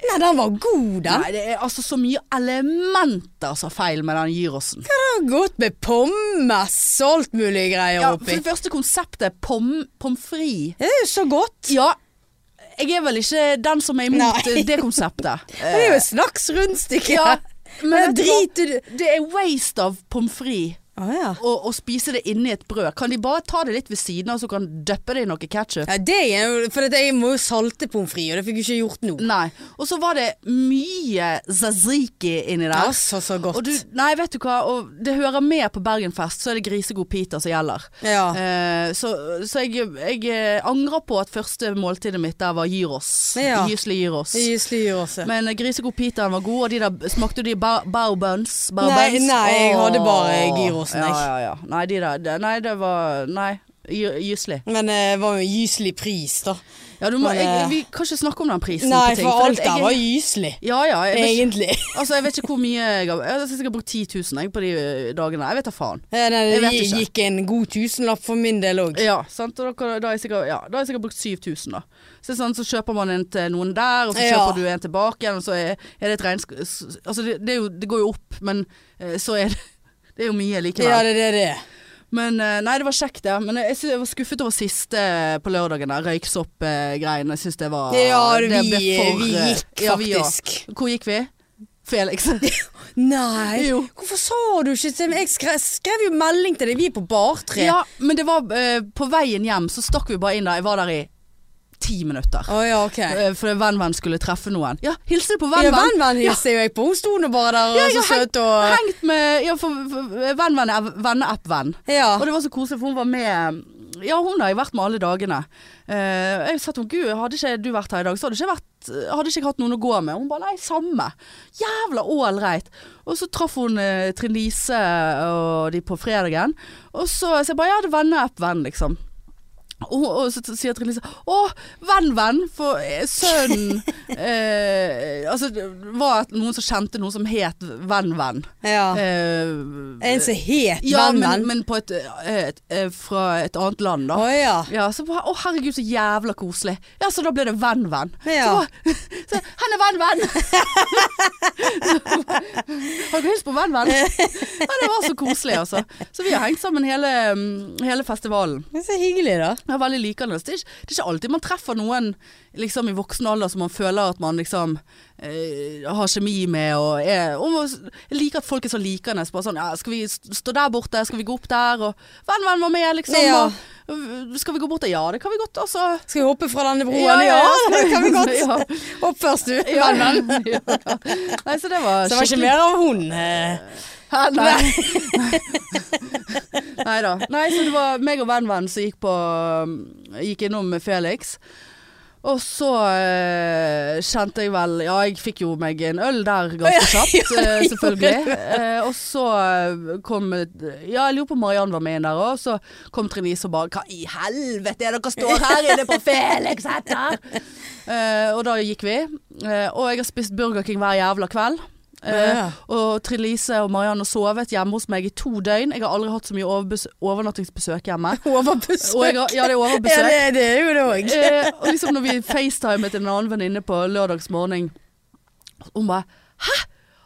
S2: Nei, den var god, den.
S1: Nei, det er altså så mye elementer som er feil med den gyrosen.
S2: Den har gått med pommes og alt mulig greier
S1: Ja, for
S2: oppi.
S1: det første konseptet, pom, pommes frites.
S2: Det er jo så godt.
S1: Ja, jeg er vel ikke den som er imot
S2: Nei.
S1: det [LAUGHS] konseptet.
S2: Det er jo et slags rundstykke.
S1: Eh. ja,
S2: men
S1: men vet du hva?
S2: driter du
S1: Det er waste av pommes frites.
S2: Å ja.
S1: Og, og spise det inni et brød. Kan de bare ta det litt ved siden av, så kan døppe det i noe ketsjup?
S2: Ja, det er jo, for at jeg må jo salte pommes frites, og det fikk jeg ikke gjort nå.
S1: Nei. Og så var det mye tzatziki inni der.
S2: Altså, så godt.
S1: Og du, nei, vet du hva, og det hører med på Bergenfest, så er det grisegod pita som gjelder.
S2: ja.
S1: Eh, så så jeg, jeg eh, angrer på at første måltidet mitt der var gyros.
S2: Ja.
S1: Gyselig gyros.
S2: Det gir slyr også.
S1: Men eh, grisegod pitaen var god, og de der smakte du de bao bao buns? Bao
S2: Nei,
S1: buns?
S2: nei, jeg
S1: Åh.
S2: hadde bare gyrosen, jeg.
S1: Ja, ja, ja. Nei, de der, det- nei, det var Nei. gy- Gyselig.
S2: Men eh, det var jo en gyselig pris, da.
S1: Ja, du må,
S2: Men,
S1: jeg,
S2: eh,
S1: vi kan ikke snakke om den prisen
S2: Nei,
S1: på ting.
S2: for
S1: at
S2: alt
S1: jeg-
S2: der var gyselig.
S1: ja, ja, jeg vet, ikke- [LAUGHS]
S2: Egentlig.
S1: altså, jeg vet ikke hvor mye jeg har Jeg har sikkert brukt 10 000 jeg, på de eh, dagene. Jeg vet da faen.
S2: Ja, nei,
S1: Jeg
S2: det
S1: vet ikke.
S2: gikk en god tusenlapp for min del òg.
S1: Ja, sant? og da, kan- da har jeg sikkert, ja, da har jeg sikkert brukt 7000 da. Så, det er sånn, så kjøper man en til noen der, og så
S2: Ja.
S1: kjøper du en tilbake igjen, og så er, er det et regnsk... s- Altså det, det, er jo, det går jo opp, men eh, så er det [LAUGHS] det er jo mye likevel.
S2: Ja, det er det det. er.
S1: Men eh, nei, det var kjekt det. Men jeg, synes jeg var skuffet over siste eh, på lørdagen der, røyksopp-greiene. Jeg synes det var...
S2: Ja,
S1: Ah, det
S2: vi,
S1: ble for,
S2: vi
S1: eh,
S2: gikk
S1: ja, vi også.
S2: faktisk.
S1: Hvor gikk vi? Felix.
S2: [LAUGHS] Nei,
S1: Jo.
S2: hvorfor sa du ikke til meg? Jeg skrev, skrev jo melding til deg, vi er på bartre.
S1: ja, men det var eh, på veien hjem, så stakk vi bare inn der. Jeg var der i ti minutter.
S2: Å ja, ok. Ja,
S1: Eh, Fordi venn-venn skulle treffe noen. Ja, hilse på venn-venn.
S2: Venn-venn hilser jo jeg på. Hun sto nå bare der og
S1: jeg
S2: så
S1: har
S2: søt og
S1: Hengt med Ja, for for venn-venn er venneapp-venn.
S2: Ja.
S1: Og det var så koselig, for hun var med Ja, hun har jeg vært med alle dagene. Eh, jeg sa til henne gud, hadde ikke du vært her i dag, så hadde ikke jeg vært Hadde ikke jeg hatt noen å gå med. Hun bare nei, samme. Jævla ålreit. Og så traff hun eh, Trine Lise og de på fredagen. Og så, så jeg bare ja, det er venneapp-venn, liksom. Og, og så t- sier Trine Lise Å, venn, venn. For eh, sønnen eh, Altså, det var noen som kjente noen som het venn, venn.
S2: ja.
S1: Eh,
S2: En som het
S1: ja, men,
S2: Venn-venn.
S1: men på et, eh, et, eh, fra et annet land,
S2: Å
S1: da.
S2: ja.
S1: Ja, så bare, Å, herregud, så jævla koselig. Ja, Så da ble det venn-venn.
S2: ja.
S1: Så, bare- [LAUGHS] så, han er venn-venn! [LAUGHS] Har du hilst på [LAUGHS] venn-venn? Ja, det var så koselig, altså. Så vi har hengt sammen hele, mm, hele festivalen.
S2: Men Så hyggelig, da.
S1: Det er veldig likende. Det er, ikke, det er ikke alltid man treffer noen liksom, i voksen alder som man føler at man liksom eh, har kjemi med. Og er, og man- jeg liker at folk er så likende. så Bare sånn, ja, 'Skal vi st- stå der borte? Skal vi gå opp der?' Og 'Venn, venn, var med', liksom.
S2: Ja.
S1: Og, øh, 'Skal vi gå bort der?' Ja, det kan vi godt. altså. Og så
S2: Skal vi hoppe fra denne broen?
S1: Ja,
S2: Ja,
S1: ja,
S2: det kan vi godt.
S1: [LAUGHS] Ja.
S2: Hopp først, du.
S1: ja,
S2: Venn, venn. [LAUGHS]
S1: ja. Nei, så det var
S2: Så det var ikke mer av hun. eh.
S1: Hæ, Nei. [LAUGHS] Nei da. Nei, så det var meg og venn-venn som gikk på um, Gikk innom med Felix. Og så eh, kjente jeg vel Ja, jeg fikk jo meg en øl der ganske [LAUGHS] kjapt, eh, selvfølgelig. Eh, og så eh, kom Ja, jeg lurer på om Mariann var med inn der òg. Så kom Trine Lise og bare Hva i helvete er det dere står her inne på Felix etter? Eh, og da gikk vi. Eh, og jeg har spist Burger King hver jævla kveld. Eh,
S2: Ja.
S1: Og Trine Lise og Mariann har sovet hjemme hos meg i to døgn. Jeg har aldri hatt så mye overbes- overnattingsbesøk hjemme.
S2: Overbesøk.
S1: Og jeg har, ja, det er
S2: Ja,
S1: overbesøk.
S2: det, det er jo det òg.
S1: Eh, og liksom når vi facetimet en annen venninne på lørdagsmorgen, hun bare Hæ?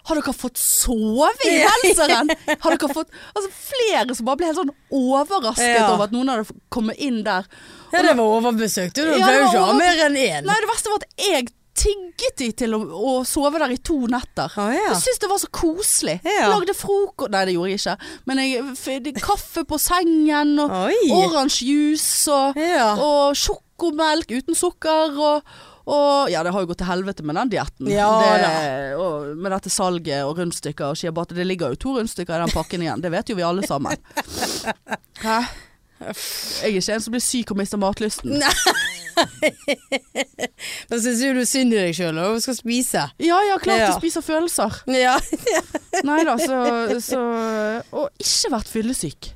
S1: Har dere fått sove i genseren? Har dere fått Altså flere som bare ble helt sånn overrasket
S2: Ja.
S1: over at noen hadde kommet inn der.
S2: Ja, det var overbesøk. Du Du
S1: Ja, det var
S2: pleier jo ikke å ha
S1: over-
S2: mer enn én.
S1: Nei, det verste var at jeg tigget de til å, å sove der i to netter.
S2: Å ja.
S1: Jeg syntes det var så koselig.
S2: Ja.
S1: Lagde frokost Nei, det gjorde jeg ikke. Men jeg, f de- kaffe på sengen, og
S2: Oi.
S1: oransje juice, og,
S2: Ja.
S1: og sjokomelk uten sukker. Og, og Ja, det har jo gått til helvete med den dietten.
S2: Ja,
S1: det, og med dette salget og rundstykker og shiabata. Det ligger jo to rundstykker i den pakken igjen. Det vet jo vi alle
S2: [LAUGHS]
S1: sammen. Hæ? Jeg er ikke en som blir syk og mister matlysten.
S2: Da syns jo du synd i deg sjøl og skal spise.
S1: Ja ja, klart
S2: Ja.
S1: du spiser følelser.
S2: Ja.
S1: Nei da, så, så Og ikke vært fyllesyk.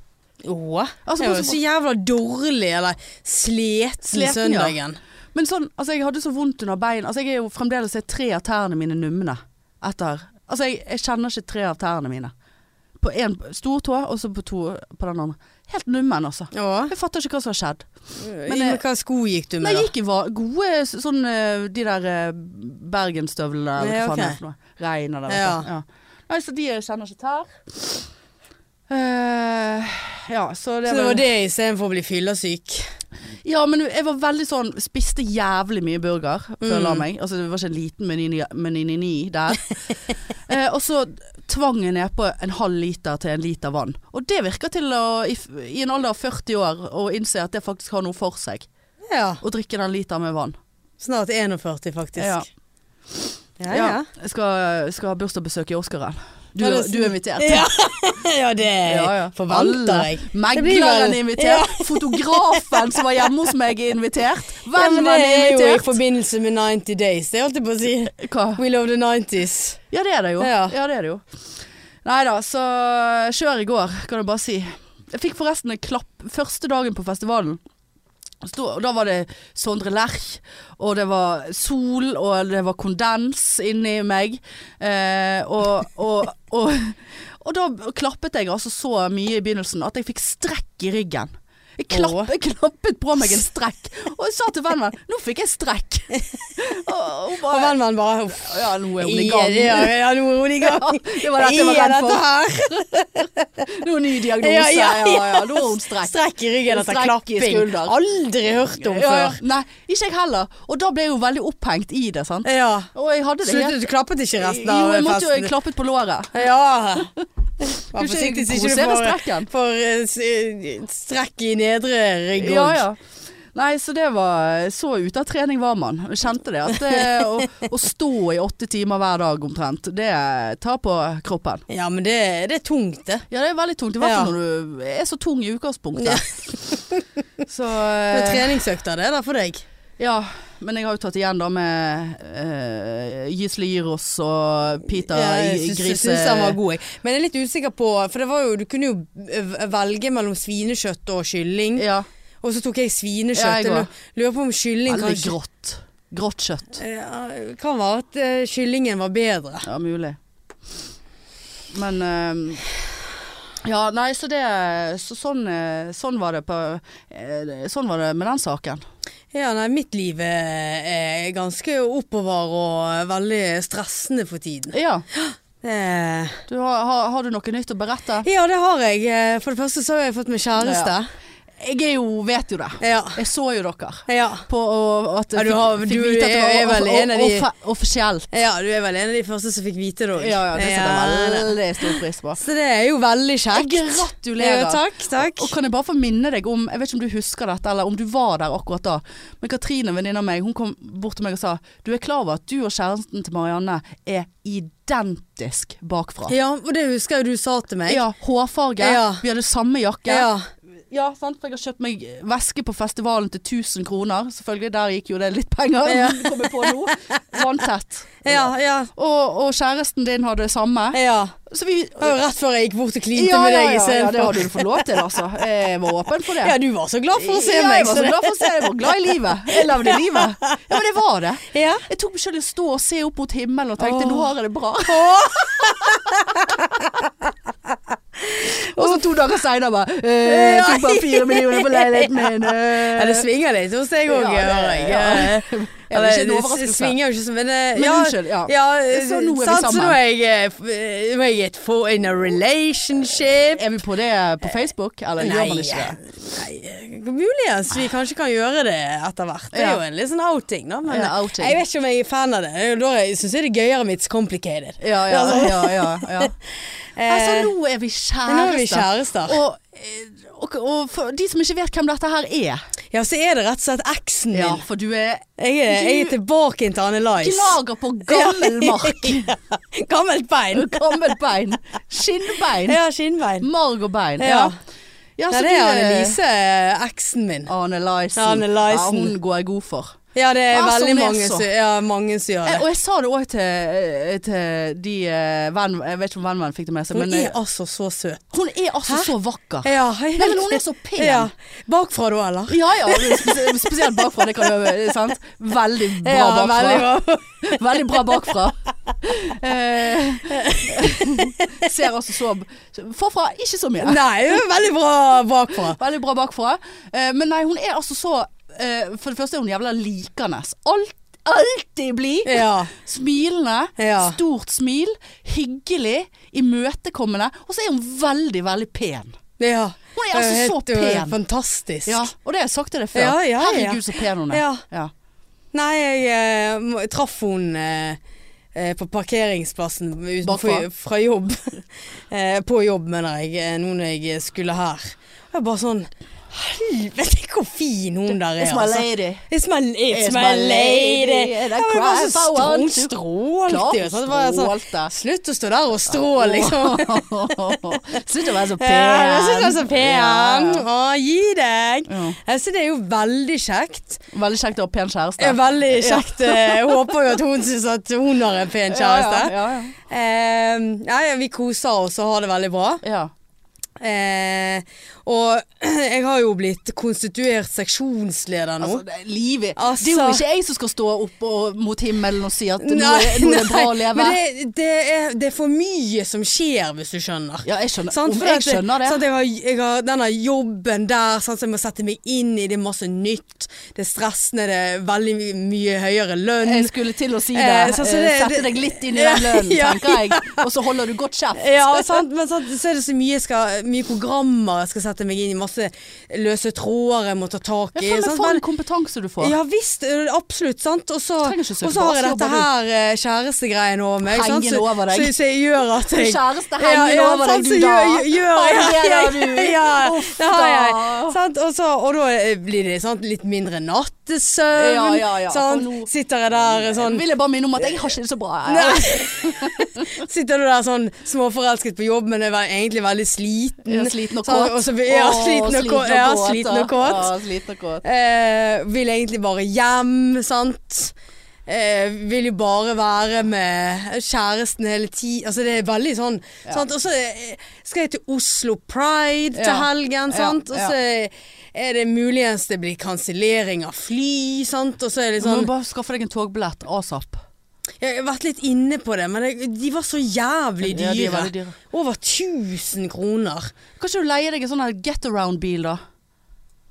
S2: Åh,
S1: Altså,
S2: jeg var
S1: bare-
S2: så jævla dårlig, eller sleten,
S1: Sleten,
S2: søndagen.
S1: Men sånn, altså jeg hadde så vondt under bein Altså jeg er jo fremdeles er tre av tærne mine numne Etter Altså jeg, jeg kjenner ikke tre av tærne mine På en stortå og så på to på den andre Helt nummen altså
S2: Åh.
S1: Jeg fatter ikke hva som har skjedd
S2: Men,
S1: Men, eh,
S2: hva sko gikk du
S1: Men
S2: med,
S1: jeg
S2: da?
S1: gikk i va- gode s- sånn eh, De der eh, Bergenstøvlene Eller
S2: Ja,
S1: hva faen
S2: ok.
S1: det er for noe Regn eller
S2: Ja.
S1: noe ja. Nei, så de kjenner ikke tær Eh, ja, så det,
S2: Så det
S1: var-
S2: var det istedenfor å bli fyllesyk.
S1: Ja, men jeg var veldig sånn Spiste jævlig mye burger før jeg la
S2: Mm.
S1: meg. Altså det var ikke en liten menini meninini
S2: [LAUGHS]
S1: der. eh, og så tvang jeg nedpå en halv liter til en liter vann. Og det virker til å, i, f- i en alder av 40 år, å innse at det faktisk har noe for seg.
S2: Ja.
S1: Å drikke den literen med vann.
S2: Snart 41, faktisk.
S1: Ja.
S2: Ja, ja. ja.
S1: Jeg skal, skal ha bursdagsbesøk i Oscaren. Du, er-
S2: Ja, det- sånn-
S1: du er invitert.
S2: Ja, [LAUGHS] ja det
S1: Ja, ja.
S2: forventer
S1: Alle.
S2: jeg. blir
S1: Megleren
S2: vel-
S1: er invitert. Fotografen som var hjemme hos meg er invitert. Vennen
S2: ja, men
S1: er
S2: det er jo i
S1: invitert.
S2: forbindelse med 90 Days, det holdt jeg på å si.
S1: Hva?
S2: We love the 90s.
S1: Ja, det er det jo. Ja.
S2: Ja.
S1: det er det jo. Nei da, så kjør i går, kan du bare si. Jeg fikk forresten en klapp første dagen på festivalen. Sto- og Da var det Sondre Lerch, og det var sol, og det var kondens inni meg. Eh, og, og, og, og da klappet jeg altså så mye i begynnelsen at jeg fikk strekk i ryggen. Jeg, klapp,
S2: Åh.
S1: jeg klappet på meg en strekk, og jeg sa til vennen min 'nå fikk jeg
S2: [LAUGHS]
S1: strekk'. Og, hun
S2: Og
S1: bare,
S2: vennen min bare uff.
S1: ja, nå er hun i gang.
S2: Ja, ja, nå er hun i gang.
S1: [LAUGHS] Ja, det var dette jeg var
S2: Ja,
S1: redd for.
S2: dette her.
S1: Noen ny diagnose. Ja,
S2: Ja,
S1: ja,
S2: ja,
S1: ja. Nå har hun strekk.
S2: Strekk i ryggen etter
S1: Strekk i
S2: klapping.
S1: skulder.
S2: Aldri hørt om
S1: Ja, ja.
S2: før.
S1: Nei, ikke jeg heller. Og da ble jeg jo veldig opphengt i det, sant.
S2: Ja.
S1: Og jeg hadde det
S2: Sluttet du klappet ikke resten av
S1: Jo, jeg måtte jo
S2: festen?
S1: jeg klappet på låret. [LAUGHS]
S2: Ja. Vær
S1: Du
S2: forsiktig så
S1: ikke
S2: ikke
S1: provosere
S2: du får,
S1: strekken.
S2: får eh, s- eh, strekk i nedre rygg
S1: Ja,
S2: òg.
S1: ja. Nei, så det var Så ute av trening var man. Jeg Kjente det. At det
S2: [LAUGHS]
S1: å, å stå i åtte timer hver dag omtrent, det tar på kroppen.
S2: Ja, men det, det er tungt, det.
S1: Ja, det er veldig tungt. I hvert fall når
S2: Ja.
S1: du er så tung i utgangspunktet.
S2: Ja.
S1: Så
S2: Det er
S1: eh,
S2: treningsøkter, det er der for deg.
S1: Ja, men jeg har jo tatt igjen da med uh, Gisle Gyros og Peter
S2: Ja, jeg
S1: i-
S2: syns- jeg
S1: Grise...
S2: syns han var god, jeg. Men jeg er litt usikker på For det var jo, du kunne jo eh, velge mellom svinekjøtt og kylling.
S1: Ja,
S2: Og så tok jeg svinekjøtt.
S1: Ja, jeg
S2: jeg
S1: går.
S2: lu- lurer på om kylling
S1: veldig
S2: kanskje
S1: grått. Grått kjøtt.
S2: Ja, Kan være at eh, kyllingen var bedre.
S1: Ja, mulig. Men eh, Ja, nei, så det så sånn, eh, sånn var det på eh, Sånn var det med den saken.
S2: Ja, nei, mitt liv er, er ganske oppover og veldig stressende for tiden.
S1: Ja.
S2: Eh,
S1: Du, har, har, har du noe nytt å berette?
S2: Ja, det har jeg. Eh, For det første så har jeg fått meg kjæreste.
S1: Jeg er jo Vet jo det.
S2: Ja.
S1: Jeg så jo dere.
S2: ja.
S1: På og, at
S2: Ja, du har- du er vel en av de-
S1: offe- Offisielt.
S2: Ja, du er vel en av de første som fikk vite det òg.
S1: Ja, ja, det setter jeg veldig stor pris på.
S2: Så det er jo veldig kjekt.
S1: Gratulerer.
S2: Ja, takk, takk.
S1: Og kan jeg bare få minne deg om, jeg vet ikke om du husker dette, eller om du var der akkurat da, men Katrine, en venninne av meg, hun kom bort til meg og sa du er klar over at du og kjæresten til Marianne er identisk bakfra.
S2: Ja, og det husker jeg du sa til meg.
S1: Ja, hårfarge,
S2: Ja.
S1: vi hadde samme jakke.
S2: Ja.
S1: Ja, sant, for jeg har kjøpt meg veske på festivalen til 1000 kroner. Selvfølgelig, der gikk jo det litt penger,
S2: Ja.
S1: men det kommer jeg på nå. Vanntett.
S2: Ja, ja.
S1: Og, og kjæresten din hadde det samme.
S2: ja.
S1: Så vi
S2: Det var jo rett før jeg gikk bort og klinte
S1: ja,
S2: med deg
S1: ja, det
S2: istedenfor.
S1: hadde du fått lov til, altså. Jeg var åpen for det.
S2: Ja, du var så glad for å se
S1: Ja,
S2: meg.
S1: Jeg var så glad for å se deg. Jeg var glad i livet. Jeg levde
S2: [LAUGHS]
S1: livet. Ja, men det var det.
S2: Ja.
S1: Jeg tok meg selv i å stå og se opp mot himmelen og tenkte
S2: Åh.
S1: nå har jeg det
S2: [LAUGHS]
S1: bra. [LAUGHS] og så to dager seinere bare eh, jeg Fikk bare fire millioner på leiligheten min. eh.
S2: [LAUGHS] Ja, det svinger litt hos deg òg,
S1: Ja, det-
S2: hører jeg.
S1: ja.
S2: [LAUGHS] Eh,
S1: Ja, det er ikke en
S2: det s-
S1: overraskelse.
S2: svinger jo ikke som Men, eh,
S1: Men
S2: ja,
S1: unnskyld, ja.
S2: ja
S1: Så nå er vi
S2: sant, Så nå
S1: sammen.
S2: er jeg, eh, f- eh, nå er jeg et for in a relationship. eh,
S1: Eh, Er vi på det på Facebook, eller gjør man ikke det?
S2: Nei, eh, Muligens vi kanskje kan gjøre det etter hvert. Det er
S1: Ja.
S2: jo en litt sånn outing, da. Men eh,
S1: Ja, outing.
S2: jeg vet ikke om jeg er fan av det. Det er jo Da syns jeg det er gøyere med It's Complicated.
S1: Ja, ja, ja. ja, ja.
S2: [LAUGHS] Eh,
S1: Altså, nå er vi
S2: men nå er vi
S1: kjærester.
S2: kjærester.
S1: Og, eh, og, og for de som ikke vet hvem dette her er
S2: Ja, så er det rett og slett eksen min.
S1: Ja, for du er
S2: Jeg, er, jeg er tilbake inn til Anne Lice.
S1: gnager på [LAUGHS] gammel mark.
S2: Gammelt bein.
S1: Gammelt bein. Skinnbein.
S2: Jeg har skinnbein.
S1: Marg og bein.
S2: Ja.
S1: Ja, ja
S2: Nei,
S1: så
S2: det
S1: altså, du
S2: er
S1: eh,
S2: Annelise, eksen min.
S1: Anne Lysen.
S2: Anne Lysen.
S1: Ja, hun går jeg god for.
S2: Ja, det er
S1: Altså,
S2: veldig
S1: hun er
S2: mange
S1: så-
S2: som, ja, mange som gjør
S1: Eh,
S2: det.
S1: og jeg sa det òg til, eh, til de eh, venn... Jeg vet ikke om vennvenn fikk det med seg,
S2: Hun
S1: men eh,
S2: er altså så søt.
S1: hun er altså
S2: Hæ?
S1: så vakker.
S2: Ja, helt,
S1: Nei, men hun er så pen.
S2: [LAUGHS] Ja. Bakfra da, eller?
S1: Ja ja, spes- spesielt bakfra. Det kan være sant. Veldig bra
S2: ja,
S1: bakfra.
S2: veldig bra.
S1: Veldig bra bakfra. Eh, ser altså så Forfra ikke så mye.
S2: Nei, hun er veldig bra bakfra.
S1: Veldig bra bakfra. Eh, men nei, hun er altså så eh, For det første er hun jævla likende. Alt, alltid blid.
S2: Ja.
S1: Smilende.
S2: Ja.
S1: Stort smil. Hyggelig. Imøtekommende. Og så er hun veldig, veldig pen.
S2: ja.
S1: Hun er altså så
S2: Helt, øh,
S1: pen.
S2: Fantastisk.
S1: Ja, og det har jeg sagt til deg før.
S2: Ja, ja, ja.
S1: Herregud, så pen hun er.
S2: Ja.
S1: Ja.
S2: Nei, jeg eh, må- traff hun eh, eh, på parkeringsplassen utenfor,
S1: Bakfra?
S2: fra jobb. [LAUGHS] eh, på jobb, mener jeg, eh, nå når jeg skulle her. Og jeg bare sånn Helvete, hvor fin hun der er.
S1: It's my
S2: altså.
S1: lady.
S2: It's my, it's
S1: It's
S2: my
S1: my
S2: lady.
S1: lady, and I
S2: Ja, men altså, det
S1: cry
S2: var
S1: if I want
S2: så
S1: to.
S2: strålt.
S1: Klart hun strålte.
S2: altså, Slutt å stå der og stråle,
S1: [LAUGHS]
S2: liksom.
S1: Slutt å være så pen.
S2: Ja, jeg synes det er så pen.
S1: Ja.
S2: Å, gi deg.
S1: Ja.
S2: Jeg synes det er jo veldig kjekt.
S1: Veldig kjekt å ha pen
S2: Det
S1: kjæreste.
S2: er veldig
S1: [LAUGHS]
S2: kjekt. Eh, Jeg håper jo at hun synes at hun har en pen kjæreste.
S1: Ja, ja,
S2: Eh, nei, vi koser oss og har det veldig bra.
S1: ja. ja.
S2: Eh, og [CLEARS THROAT] jeg har jo blitt konstituert seksjonsleder nå.
S1: Altså, det er livet.
S2: Altså-
S1: det er jo ikke jeg som skal stå opp og, mot himmelen og si at nå
S2: Nei,
S1: er, nå er det bra å
S2: nei,
S1: leve.
S2: Men det, det, er, det er for mye som skjer, hvis du skjønner.
S1: ja, jeg skjønner,
S2: Sant?
S1: om
S2: For
S1: jeg
S2: at det-
S1: skjønner det.
S2: sant, jeg, har, jeg har denne jobben der, sant, så jeg må sette meg inn i det, er masse nytt. Det er stressende, det er veldig my- mye høyere lønn.
S1: jeg skulle til å si det.
S2: Eh, så- så
S1: eh,
S2: det-
S1: Sette
S2: det-
S1: deg litt inn i
S2: Ja,
S1: den lønnen,
S2: [LAUGHS] ja,
S1: tenker jeg. Og så holder du godt kjeft.
S2: [LAUGHS] Ja, sant, men sant, så er det så mye, jeg skal, mye programmer jeg skal sette meg inn i, masse løse tråder jeg må ta tak
S1: Ja,
S2: i.
S1: faen, men
S2: sant,
S1: for
S2: men-
S1: en kompetanse du får.
S2: Ja visst, ø, absolutt. sant? Og så,
S1: Trenger ikke søke
S2: og så har jeg
S1: på, så
S2: dette
S1: jobber
S2: her eh, kjærestegreiene over meg. sant?
S1: Hengende
S2: Så-
S1: over deg.
S2: Så, så jeg gjør at jeg
S1: Kjæreste henger over deg,
S2: sant,
S1: du
S2: så
S1: da.
S2: Gjør, gjør,
S1: Har
S2: ja,
S1: du det
S2: ja,
S1: da, du?
S2: [LAUGHS] ja,
S1: Uff
S2: det har jeg.
S1: da.
S2: Sant? Og, så, og da eh, blir det sant, litt mindre nattesøvn.
S1: Ja, ja, ja, for
S2: sant?
S1: nå-
S2: Sitter jeg der eh,
S1: [LAUGHS]
S2: sånn
S1: Vil jeg bare minne om at jeg har ikke det så bra. jeg.
S2: Nei. [LAUGHS] Sitter du der sånn småforelsket på jobb, men er vel- egentlig veldig sliten.
S1: Ja, sliten og
S2: sant?
S1: kåt.
S2: Og så, ja,
S1: Åh,
S2: sliten og kåt. Ja, sliten og kåt.
S1: Ja, sliten og kåt.
S2: Eh, vil egentlig bare hjem, sant? Eh, vil jo bare være med kjæresten hele tiden. Altså det er veldig sånn. Sant? Og så eh, skal jeg til Oslo Pride til
S1: Ja.
S2: helgen,
S1: Ja,
S2: sant?
S1: ja.
S2: Og så er det muligens det blir kansellering av fly, sant? Og så er det
S1: Du må
S2: sånn
S1: bare skaffe deg en togbillett asap. Mhm.
S2: Jeg har vært litt inne på det, men det, de var så jævlig
S1: Ja,
S2: dyre.
S1: de er veldig dyre.
S2: Over 1000 kroner.
S1: Kan ikke du leie deg en sånn her get around-bil, da?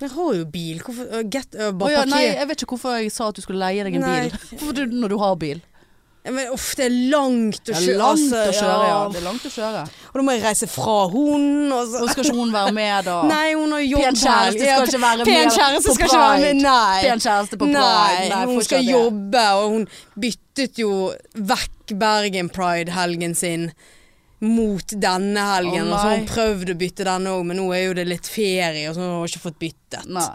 S2: Jeg har jo bil. Hvorfor øh, get, øh,
S1: Å
S2: bare
S1: ja, nei,
S2: parker-
S1: jeg vet ikke hvorfor jeg sa at du skulle leie deg en
S2: Nei.
S1: bil. [LAUGHS] Hvorfor du, når du har bil.
S2: Ja, Men uff, det er langt å
S1: Det
S2: kjøre.
S1: er langt å
S2: altså,
S1: kjøre, ja. Det er langt å kjøre.
S2: Og da må jeg reise fra hun og så.
S1: Og skal ikke hun være med, da?
S2: [LAUGHS] Nei, hun har jobb
S1: Pen kjæreste
S2: her. Ja,
S1: skal ikke være
S2: Pen
S1: med
S2: kjæreste
S1: på
S2: skal ikke være med,
S1: Pride.
S2: nei.
S1: Pen kjæreste på Pride.
S2: Nei,
S1: Nei,
S2: hun
S1: fortsatt
S2: skal
S1: det.
S2: jobbe, og hun byttet jo vekk Bergen Pride-helgen sin mot denne helgen.
S1: Å,
S2: og så har hun
S1: nei.
S2: prøvd å bytte denne òg, men nå er jo det litt ferie, og så har hun ikke fått byttet.
S1: Nei.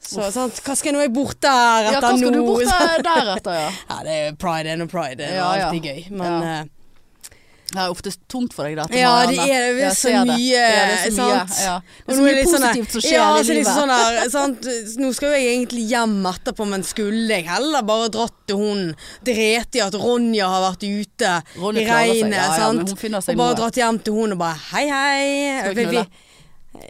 S2: Så sant, hva skal jeg nå jeg er borte her
S1: Ja,
S2: etter
S1: hva skal du
S2: nå? [LAUGHS]
S1: bort der- deretter, ja?
S2: Ja, det er pride er nå pride, det er
S1: Ja, ja.
S2: alltid gøy. Men
S1: Ja.
S2: eh,
S1: Det er ofte tungt for deg, dette.
S2: Ja, det
S1: Marianne.
S2: er- det er
S1: Jeg
S2: så
S1: ser
S2: mye, eh,
S1: Ja, det er så mye,
S2: sant?
S1: ja.
S2: Og
S1: Det er så
S2: nå er
S1: mye
S2: det litt sånn her-
S1: positivt som skjer
S2: ja,
S1: i
S2: så er det
S1: livet.
S2: litt Sånn her,
S1: [LAUGHS]
S2: sant? Nå skal jo jeg egentlig hjem etterpå, men skulle jeg heller bare dratt til hun Drete i at Ronja har vært ute
S1: Ronja
S2: i
S1: klarer seg,
S2: regnet,
S1: ja, ja, men hun
S2: sant?
S1: finner seg
S2: og bare
S1: noe.
S2: dratt hjem til hun og bare hei, hei.
S1: Skal vi
S2: Vi- vi-
S1: knulle?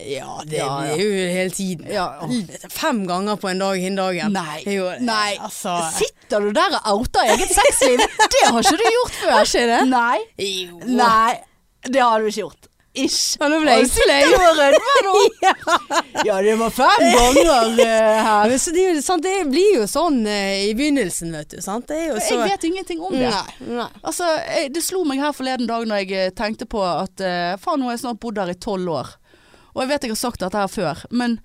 S2: Ja, det
S1: Ja, ja.
S2: blir jo hele tiden.
S1: Ja, åh.
S2: Fem ganger på en dag hin dagen.
S1: Nei.
S2: Det er jo-
S1: Nei.
S2: Altså,
S1: Sitter du der og outer eget
S2: [LAUGHS]
S1: sexliv? Det har ikke du gjort før. Har ikke det? Nei.
S2: jo.
S1: Nei, det har du ikke gjort. Ish.
S2: Ja, nå ble jeg
S1: Og sitter du og rødmer nå?
S2: [LAUGHS]
S1: Ja, det var fem ganger eh,
S2: Ja,
S1: her.
S2: men så det, er jo sant, det blir jo sånn eh, i begynnelsen, vet du. Sant? Det er jo
S1: [LAUGHS]
S2: så Mm.
S1: Jeg vet ingenting om det.
S2: Nei, nei.
S1: Altså, jeg, det slo meg her forleden dag når jeg eh, tenkte på at eh, faen, nå har jeg snart bodd her i tolv år. Og jeg vet jeg har sagt dette her før, men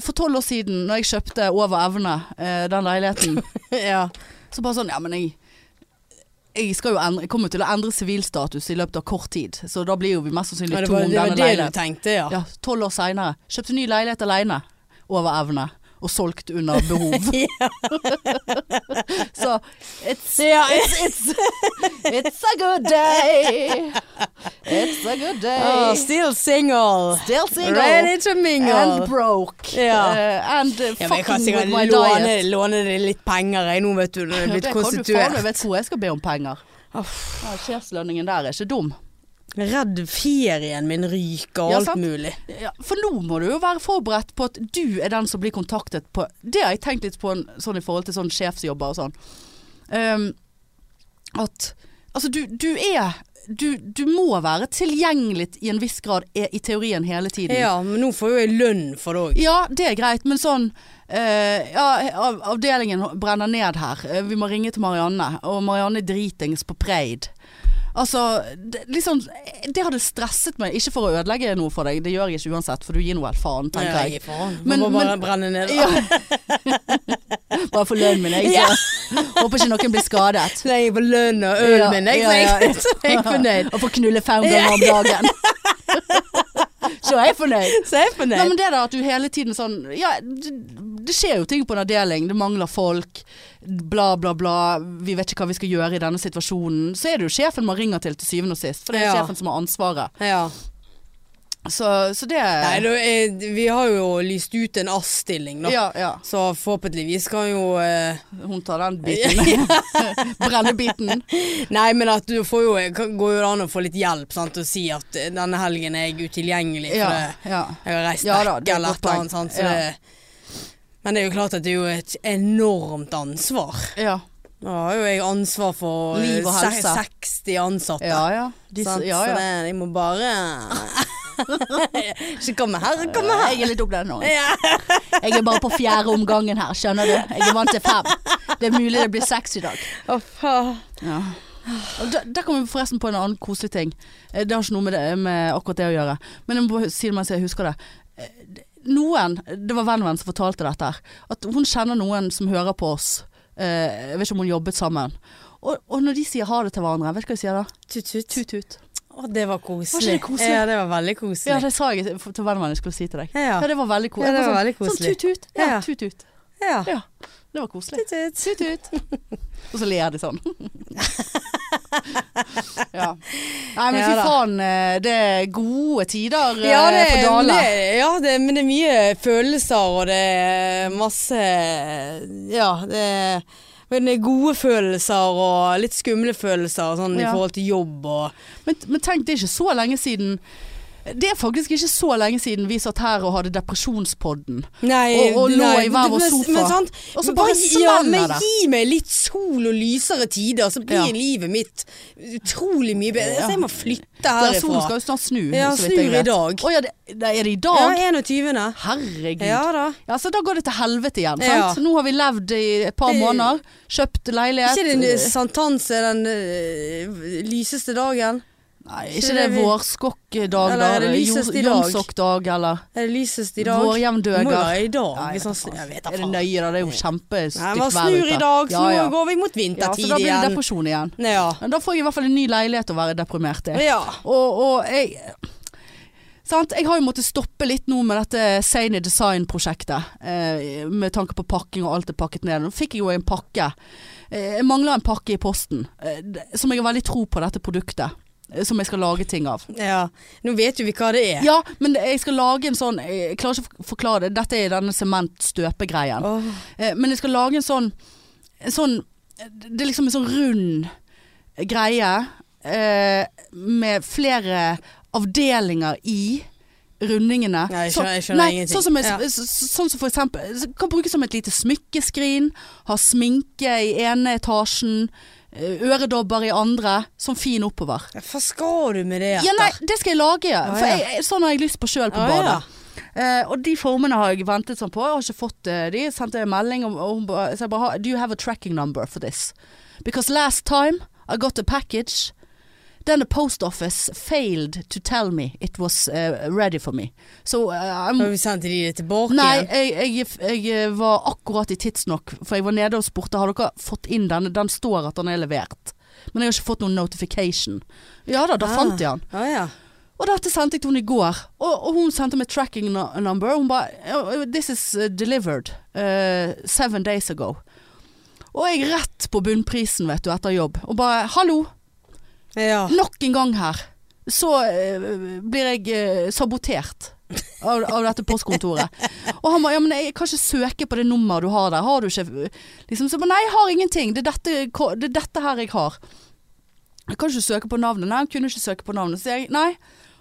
S1: for tolv år siden, når jeg kjøpte over evne eh, den leiligheten,
S2: [LAUGHS] ja.
S1: så bare sånn Ja, men jeg jeg, skal jo endre, jeg kommer jo til å endre sivilstatus i løpet av kort tid, så da blir jo vi mest
S2: Ja,
S1: sannsynlig
S2: det
S1: to
S2: var
S1: om
S2: det, var
S1: denne
S2: det du
S1: leiligheten.
S2: tenkte, ja.
S1: Ja, tolv år seinere. Kjøpte ny leilighet aleine. Over evne. Og solgt under
S2: [LAUGHS]
S1: behov. [LAUGHS] så it's,
S2: Ja, eh,
S1: it's, it's, it's a good day. It's a good
S2: Ah,
S1: day.
S2: still single.
S1: Still single
S2: Ready to mingle.
S1: and broke.
S2: Ja.
S1: Eh, and uh,
S2: ja, men jeg kan
S1: fucking
S2: sikkert
S1: with my
S2: låne,
S1: diet.
S2: låne deg litt penger jeg nå, vet du, når jeg er
S1: Ja,
S2: blitt
S1: det kan du faen meg
S2: konstituert.
S1: vet hvor jeg skal be om penger. Ja, Sjefslønningen der er ikke dum.
S2: Redd ferien min ryker og
S1: Ja,
S2: alt
S1: sant.
S2: mulig.
S1: Ja, for nå må du jo være forberedt på at du er den som blir kontaktet på Det har jeg tenkt litt på en, sånn i forhold til sånn sjefsjobber og sånn. Ehm, at altså du, du er du, du må være tilgjengelig i en viss grad i, i teorien hele tiden.
S2: Ja, men nå får jo jeg lønn for det òg.
S1: Ja, det er greit, men sånn eh, Ja, av, avdelingen brenner ned her. Eh, Vi må ringe til Marianne. Og Marianne er dritings på Preid. Altså, det, liksom Det hadde stresset meg. Ikke for å ødelegge noe for deg, det gjør jeg ikke uansett, for du gir nå helt faen, tenker jeg. Men-
S2: Man må bare
S1: men-
S2: brenne ned.
S1: Ja. [LAUGHS] Bare for lønnen min, jeg. Så. Håper ikke noen blir skadet.
S2: Så lenge jeg får lønn og øl
S1: Ja,
S2: min, jeg,
S1: ja,
S2: så jeg-
S1: ja.
S2: så er jeg fornøyd.
S1: Og får knulle fem ganger om dagen. Så er jeg fornøyd.
S2: [LAUGHS] Så er jeg
S1: Nei,
S2: fornøyd.
S1: men det der at du hele tiden sånn Ja, det, det skjer jo ting på en avdeling. Det mangler folk. Bla, bla, bla. Vi vet ikke hva vi skal gjøre i denne situasjonen. Så er det jo sjefen man ringer til til syvende og sist. For det er
S2: Ja.
S1: sjefen som har ansvaret.
S2: Ja.
S1: Så, så det
S2: Nei, da, eh, vi har jo lyst ut en ASS-stilling, da.
S1: ja, ja.
S2: Så forhåpentligvis kan jo eh,
S1: Hun tar [LAUGHS] den biten. Brennebiten.
S2: Nei, men at du får jo eh, kan- går jo an å få litt hjelp, sant, og si at eh, denne helgen er jeg utilgjengelig. For
S1: Ja,
S2: det,
S1: ja.
S2: Jeg har reist
S1: Ja
S2: vekk
S1: da, det er et
S2: eller
S1: godt
S2: et eller
S1: poeng.
S2: annet. Sant? Så
S1: Ja.
S2: det, men det er jo klart at det er jo et enormt ansvar.
S1: Ja,
S2: Nå har jo jeg ansvar for eh,
S1: Liv og
S2: se-
S1: helse.
S2: 60 ansatte.
S1: ja. ja. De,
S2: sant?
S1: ja,
S2: Så
S1: ja.
S2: det, jeg må bare
S1: [LAUGHS]
S2: Ikke komme her, komme her.
S1: Jeg er litt opplært nå.
S2: Ja.
S1: Jeg er bare på fjerde omgangen her, skjønner du. Jeg er vant til fem. Det er mulig det blir seks i dag.
S2: Å, faen.
S1: Ja. Og der, der kom vi forresten på en annen koselig ting. Eh, Det har ikke noe med, det, med akkurat det å gjøre. Men jeg må bare si det mens jeg husker det. Eh, d- Noen, det var vennen min som fortalte dette her, at hun kjenner noen som hører på oss. Eh, Jeg vet ikke om hun jobbet sammen. Og, og når de sier ha det til hverandre, vet du hva de sier da?
S2: Tut, tut.
S1: Tut-tut.
S2: Å, det var
S1: Var ikke
S2: koselig.
S1: det koselig?
S2: Ja, det var veldig
S1: Ja,
S2: koselig.
S1: det sa jeg til til vennen min jeg skulle si til deg.
S2: Ja,
S1: Ja, det var veldig
S2: Ja,
S1: koselig.
S2: det
S1: Jeg
S2: var
S1: sånn-
S2: veldig koselig.
S1: Sånn tut-tut. Ja,
S2: Ja.
S1: tut-tut.
S2: ja.
S1: Ja, det var koselig.
S2: Tut, tut.
S1: Tut-tut. Og så ler de
S2: [LAUGHS]
S1: sånn. ja. Nei, men fy
S2: Ja da.
S1: faen, eh, det er gode tider eh,
S2: Ja, det,
S1: for Dale.
S2: det- ja det, men det er mye følelser, og det er masse Ja, det er men det er gode følelser og litt skumle følelser og sånn, i
S1: Ja.
S2: forhold til jobb og
S1: Men, men tenk, det er ikke så lenge siden Det er faktisk ikke så lenge siden vi satt her og hadde depresjonspodden.
S2: Nei,
S1: Og- og lå
S2: nei,
S1: i hver vår
S2: men-
S1: sofa.
S2: Men, sant?
S1: Og så
S2: Men
S1: bare
S2: ja,
S1: smeller
S2: men
S1: det.
S2: Gi meg litt sol og lysere tider, så blir
S1: Ja.
S2: livet mitt utrolig mye bedre.
S1: Ja.
S2: Så jeg må flytte
S1: Der solen
S2: herifra.
S1: skal jo snart snu.
S2: Ja,
S1: så vidt jeg
S2: snur i
S1: vet.
S2: dag.
S1: Å, ja, det, nei, er det i
S2: Ja,
S1: dag?
S2: 21.
S1: Herregud.
S2: Ja da.
S1: Ja, så da går det til helvete igjen.
S2: Ja.
S1: Sant? Nå har vi levd i et par
S2: Det-
S1: måneder. Kjøpt leilighet.
S2: Ikke den sankthans er den øh, lyseste dagen?
S1: Nei,
S2: ikke
S1: ikke det
S2: det vi-
S1: vårskokkdag,
S2: Eller er
S1: da.
S2: det lysest i dag?
S1: Jomsokkdag, eller
S2: Er det lysest i dag? Det
S1: vårjevndøger.
S2: må jo være i dag.
S1: Nei,
S2: hvis
S1: jeg
S2: han
S1: vet da
S2: sn- jeg vet da
S1: Er det
S2: faen.
S1: nøye da? Det er jo kjempestygt vær
S2: Nei,
S1: ute.
S2: man snur i dag, så nå går vi mot
S1: ja,
S2: vintertid
S1: så da blir det
S2: igjen.
S1: depresjon igjen.
S2: Nei, Ja.
S1: Men da får jeg i hvert fall en ny leilighet å være deprimert i.
S2: ja.
S1: Og, og jeg Sant? Jeg har jo måttet stoppe litt nå med dette Sane Design-prosjektet. Eh, med tanke på pakking og alt er pakket ned. Nå fikk jeg jo en pakke. Eh, jeg mangler en pakke i posten. Eh, d- som jeg har veldig tro på dette produktet. eh, Som jeg skal lage ting av.
S2: ja. Nå vet jo vi hva det er.
S1: Ja, men jeg skal lage en sånn Jeg klarer ikke å forklare det. Dette er denne sementstøpegreien.
S2: Åh.
S1: Eh, Men jeg skal lage en sånn, en sånn Det er liksom en sånn rund greie eh, med flere avdelinger i rundingene.
S2: Nei, jeg
S1: Sånn-
S2: skjønner- jeg skjønner
S1: nei,
S2: ingenting.
S1: Sånn som, en-
S2: Ja.
S1: s- sånn som for eksempel så Kan brukes som et lite smykkeskrin. Ha sminke i ene etasjen. eh, Øredobber i andre. Sånn fin oppover.
S2: Hva skal du med det?
S1: Ja, nei, det skal jeg lage.
S2: Å,
S1: For
S2: ja.
S1: jeg, jeg, sånn har jeg lyst på sjøl på
S2: Å,
S1: badet.
S2: ja.
S1: Eh, og de formene har jeg ventet sånn på. Jeg har ikke fått eh, de. Sendte jeg en melding om, og hun ba, så jeg bare har- Do you have a tracking number for this? Because last time I got a package Then the post office failed to tell me it was eh, ready for me. So eh, I'm
S2: Da vi sendte de det tilbake
S1: Nei,
S2: igjen.
S1: jeg, jeg, jeg var akkurat i tidsnok, for jeg var nede og spurte har dere fått inn den. Den står at den er levert. Men jeg har ikke fått noen notification. Ja da, da
S2: Ah.
S1: fant jeg den.
S2: Å ja.
S1: Og dette sendte jeg til henne i går. Og, og hun sendte meg tracking no- number. Hun ba "Oh, This is uh, delivered uh, seven days ago. Og jeg rett på bunnprisen, vet du, etter jobb. Og bare hallo,
S2: ja.
S1: nok en gang her. Så eh, blir jeg eh, sabotert av, av dette postkontoret. Og han bare ja, men jeg kan ikke søke på det nummeret du har der. Har du ikke liksom, så, jeg ba, Nei, jeg har ingenting. Det er dette, ko- det er dette her jeg har. Jeg kan ikke søke på navnet. Nei, han kunne ikke søke på navnet. Så jeg nei.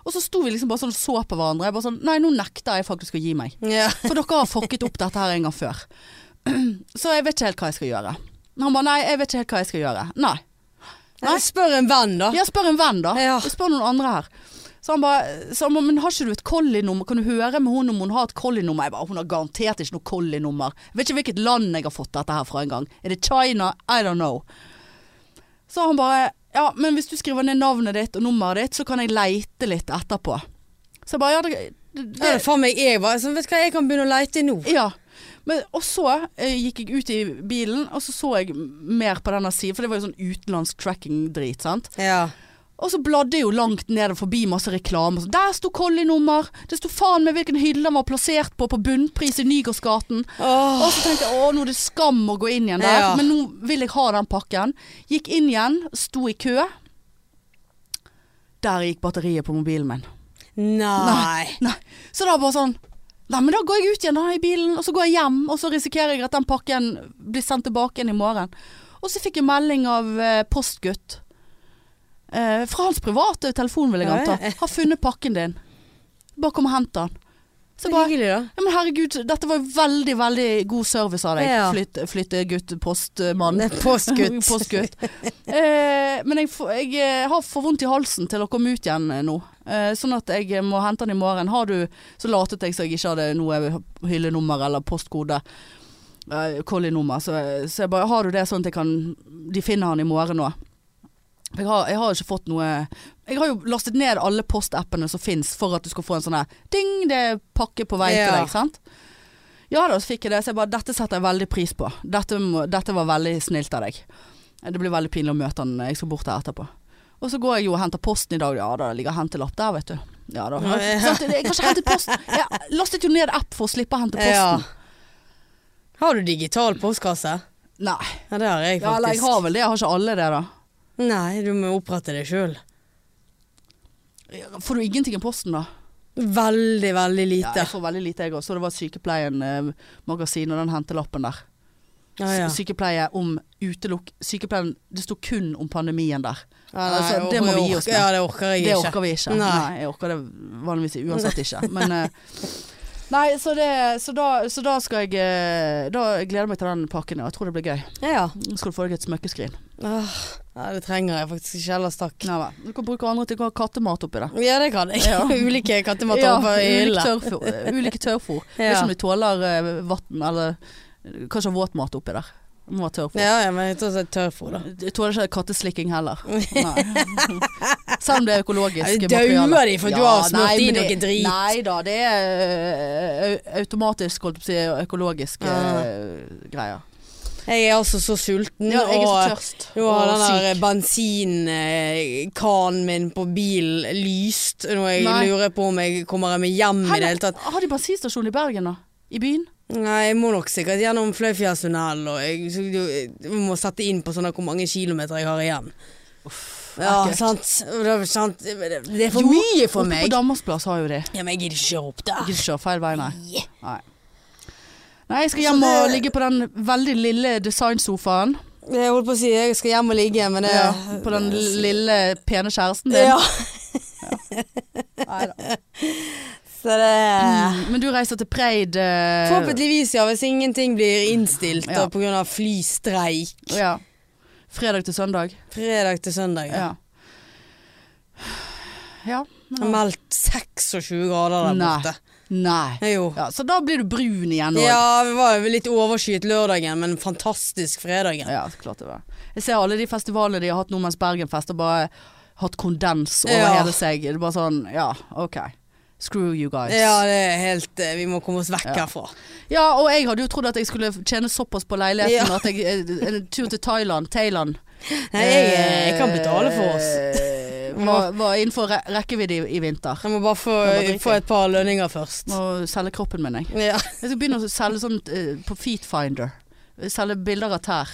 S1: Og så sto vi liksom bare sånn og så på hverandre. Jeg bare sånn Nei, nå nekter jeg faktisk å gi meg.
S2: ja.
S1: For dere har fucket opp dette her en gang før. [CLEARS THROAT] Så jeg vet ikke helt hva jeg skal gjøre. Han bare nei, jeg vet ikke helt hva jeg skal gjøre. Nei. Nei.
S2: Spør en venn, da.
S1: Ja, spør en venn da.
S2: Ja.
S1: Spør noen andre her. Så han bare, så han ba, men har ikke du et collie-nummer? Kan du høre med hun om hun har et collie-nummer? Jeg bare, hun har garantert ikke noe collie-nummer. Jeg vet ikke hvilket land jeg har fått dette her fra en gang. Er det China? I don't know. Så han bare, ja, men hvis du skriver ned navnet ditt og nummeret ditt, så kan jeg leite litt etterpå. Så jeg bare, ja, det, det,
S2: Ja, det er faen meg jeg var sånn, Vet du hva, jeg kan begynne å leite nå.
S1: ja. Men, og så eh, gikk jeg ut i bilen, og så så jeg mer på denne siden, for det var jo sånn utenlandsk tracking-drit, sant?
S2: Ja.
S1: Og så bladde jeg jo langt ned og forbi masse reklame. og sånn, Der sto Collie-nummer! Det sto faen meg hvilken hylle han var plassert på på bunnpris i Nygårdsgaten.
S2: Åh.
S1: Og så tenkte jeg å, nå er det skam å gå inn igjen der,
S2: Ja.
S1: men nå vil jeg ha den pakken. Gikk inn igjen, sto i kø. Der gikk batteriet på mobilen min.
S2: Nei.
S1: Nei. Så da bare sånn Nei, men da går jeg ut igjen da i bilen, og så går jeg hjem, og så risikerer jeg at den pakken blir sendt tilbake igjen i morgen. Og så fikk jeg melding av eh, postgutt. Eh, fra hans private telefon, vil jeg
S2: Ja,
S1: anta.
S2: ja.
S1: Har funnet pakken din. Bare kom og hent den. Så
S2: Så
S1: jeg bare
S2: hyggelig, da.
S1: ja, men herregud, dette var jo veldig, veldig god service av deg,
S2: Ja.
S1: Flytt- flyttegutt, postmann.
S2: [LAUGHS] Nei, Postgutt.
S1: [LAUGHS] Postgutt. Eh, men jeg, får- jeg eh, har for vondt i halsen til å komme ut igjen eh, nå. Eh, sånn at jeg eh, må hente den i morgen. Har du Så latet jeg så jeg ikke hadde noe hyllenummer eller postkode. Eh, Collie-nummer. Så, så jeg bare Har du det sånn at jeg kan De finner han i morgen nå? Jeg har, jeg har ikke fått noe Jeg har jo lastet ned alle postappene som fins for at du skal få en sånn her ding, det er pakke på vei til
S2: Ja.
S1: deg, sant? Ja da, så fikk jeg det. Så jeg bare Dette setter jeg veldig pris på. Dette, må, dette var veldig snilt av deg. Det blir veldig pinlig å møte han. eh, Jeg skal bort her etterpå. Og så går jeg jo og henter posten i dag. Ja da, det ligger hentelapp der, vet du. Ja da.
S2: Ja.
S1: Sant? Jeg har ikke hentet posten. Jeg lastet jo ned app for å slippe å hente
S2: Ja.
S1: posten.
S2: Har du digital postkasse?
S1: Nei.
S2: Ja, det har jeg faktisk.
S1: Ja, eller jeg har vel det. Jeg har ikke alle det, da.
S2: Nei, du må opprette det sjøl.
S1: Får du ingenting i posten, da?
S2: Veldig, veldig
S1: Ja,
S2: lite.
S1: jeg får veldig lite jeg også. Det var Sykepleien-magasin og den hentelappen der.
S2: Ja, ja.
S1: Sy- Sykepleie om utelukk... Sykepleien, det sto kun om pandemien der.
S2: Ja,
S1: Altså, det må
S2: jeg
S1: vi gi
S2: orker-
S1: oss med.
S2: Ja, det orker jeg
S1: Det
S2: ikke.
S1: orker vi ikke.
S2: Nei.
S1: Nei. jeg orker det vanligvis uansett ikke. Men eh,
S2: [LAUGHS]
S1: Nei, så, det, så, da, så da skal jeg eh, Da gleder jeg meg til den pakken. Og jeg tror det blir gøy.
S2: Ja.
S1: Nå skal du få deg et smykkeskrin.
S2: Åh, ja, det trenger jeg faktisk ikke ellers, takk.
S1: Nei vel. Du kan bruke andre til å ha kattemat oppi det.
S2: Ja, det kan jeg.
S1: Ja.
S2: [LAUGHS] Ulike kattemater ja, på
S1: ulike
S2: hylle.
S1: tørrfôr. eh, Ulike tørrfôr. Jeg
S2: Ja.
S1: Vet ikke om de tåler uh, vann eller eh, Kanskje våtmat oppi der. Det Må ha tørrfôr.
S2: Ja, ja, men jeg tror det er tørrfôr, da.
S1: Jeg tåler ikke katteslikking heller.
S2: [LAUGHS]
S1: Nei. Selv om det er økologisk
S2: Ja, det
S1: materiale.
S2: dauer de for du har smurt
S1: nei,
S2: i
S1: men
S2: noe
S1: det-
S2: drit.
S1: Nei da, det er ø, ø, automatisk, holdt på å si, økologisk ø, greier.
S2: Jeg er altså så sulten.
S1: Ja, jeg er så
S2: og-
S1: tørst
S2: Nå har
S1: og
S2: den der
S1: syk.
S2: bensinkanen min på bilen lyst, og jeg
S1: Nei.
S2: lurer på om jeg kommer meg hjem i det hele tatt.
S1: Har de bensinstasjon i Bergen da? I byen?
S2: Nei, jeg må nok sikkert gjennom Fløyfjellstunnel, og jeg, så- du- jeg må sette inn på sånn hvor mange kilometer jeg har igjen. ja,
S1: ekkelt.
S2: sant. Og Det er, sant. Det er for
S1: Jo,
S2: mye for
S1: Oppe
S2: meg.
S1: på Danmarksplass har jo de.
S2: Ja, men jeg gidder ikke kjøre opp
S1: Jeg
S2: der.
S1: Gidder ikke kjøre feil vei, nei.
S2: Yeah.
S1: nei. Nei, jeg skal hjem
S2: Så
S1: og
S2: det-
S1: ligge på den veldig lille designsofaen.
S2: Jeg holdt på å si jeg skal hjem og ligge, men det
S1: Ja, på den lille, pene kjæresten din.
S2: Ja,
S1: Neida.
S2: så det
S1: Mm, Men du reiser til Preid eh,
S2: Forhåpentligvis, ja. Hvis ingenting blir innstilt
S1: Ja.
S2: Mm. ja. pga. flystreik.
S1: Ja. Fredag til søndag.
S2: Fredag til søndag. Ja.
S1: Ja. Ja.
S2: Det er meldt 26 grader der
S1: Nei.
S2: borte.
S1: Nei.
S2: Ja, Jo.
S1: Ja, så da blir du brun igjen òg.
S2: Ja, vi var jo litt overskyet lørdagen, men fantastisk fredagen.
S1: Ja, så klart det var. Jeg ser alle de festivalene de har hatt nå mens Bergen fester, bare hatt kondens over
S2: Ja.
S1: hele seg. Det er bare sånn, ja, OK. Screw you guys.
S2: Ja, det er helt eh, Vi må komme oss vekk
S1: Ja.
S2: herfra.
S1: Ja, og jeg hadde jo trodd at jeg skulle tjene såpass på leiligheten
S2: Ja.
S1: at jeg eh, En tur til Thailand, Thailand
S2: Nei, jeg, eh, jeg kan betale for oss.
S1: Eh, Var, var innenfor re rekkevidde i, i vinter.
S2: Jeg må bare få,
S1: Jeg må drikke.
S2: få et par lønninger først.
S1: Må selge kroppen min, jeg.
S2: Ja.
S1: Jeg skal begynne å selge sånn eh, på Feet Finder. Selge bilder av tær.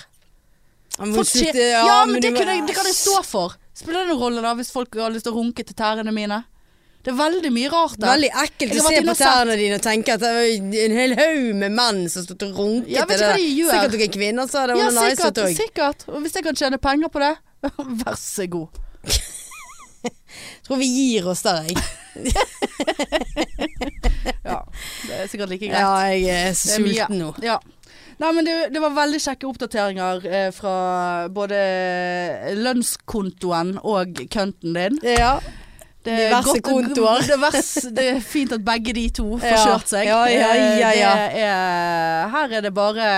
S2: Jeg må
S1: Folk
S2: slutte-
S1: sier Ja, men
S2: du
S1: det,
S2: må-
S1: kunne, jeg- det kan jeg stå for. Spiller det noen rolle da hvis folk har lyst til å runke til tærne mine? Det er veldig mye rart der.
S2: Veldig ekkelt
S1: Jeg
S2: å
S1: har vært
S2: se
S1: inne
S2: på
S1: og sett.
S2: tærne dine og tenke at det var en hel haug med menn som stod og runket
S1: Ja, vet
S2: til
S1: du hva
S2: det.
S1: de gjør?
S2: Sikkert noen kvinner sa det.
S1: Ja,
S2: var noe nice
S1: sikkert,
S2: ut også.
S1: sikkert. Og hvis jeg kan tjene penger på det, [LAUGHS] vær så god.
S2: Jeg tror vi gir oss der, jeg.
S1: Ja, det er sikkert like greit.
S2: Ja, jeg er så
S1: Det er mye.
S2: sulten nå.
S1: Ja. Nei, men det, det var veldig kjekke oppdateringer eh, fra både lønnskontoen og kønten din.
S2: Ja.
S1: Det
S2: Diverse
S1: [LAUGHS]
S2: kontoer.
S1: Det, vers, det er fint at begge de to får
S2: Ja.
S1: kjørt seg.
S2: Ja, ja,
S1: Eh,
S2: ja, ja.
S1: Det er, her er det bare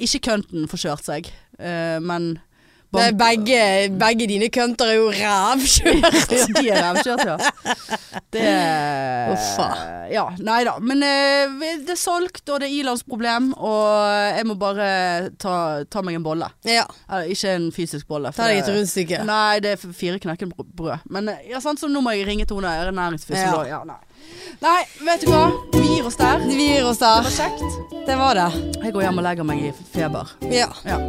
S1: Ikke kønten får kjørt seg, eh, men
S2: Nei, begge, begge dine kønter er jo rævkjørt. [LAUGHS]
S1: De er revkjørt, ja. Det
S2: Uffa.
S1: Ja, nei da. Men eh, vi- det er solgt, og det er Ilans problem, og jeg må bare ta, ta meg en bolle.
S2: Ja.
S1: Eller, ikke en fysisk bolle. for
S2: Ta deg et
S1: det-
S2: rundstykke.
S1: Nei, det er fire knekkebrød. Men eh, ja, sant, så nå må jeg ringe Tone, er det næringsfysiolog? Ja. nei. nei, vet du hva? Vi gir oss der.
S2: Vi gir oss der.
S1: Det var kjekt.
S2: Det var det.
S1: Jeg går hjem og legger meg i feber.
S2: Ja.
S1: Ja.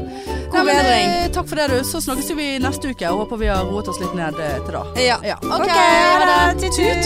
S2: God
S1: Nei, men,
S2: bedring.
S1: eh, Takk for det, du. Så snakkes jo vi neste uke. og Håper vi har roet oss litt ned eh, til da.
S2: Ja.
S1: Ja.
S2: Ok, ha det. Tut, tut.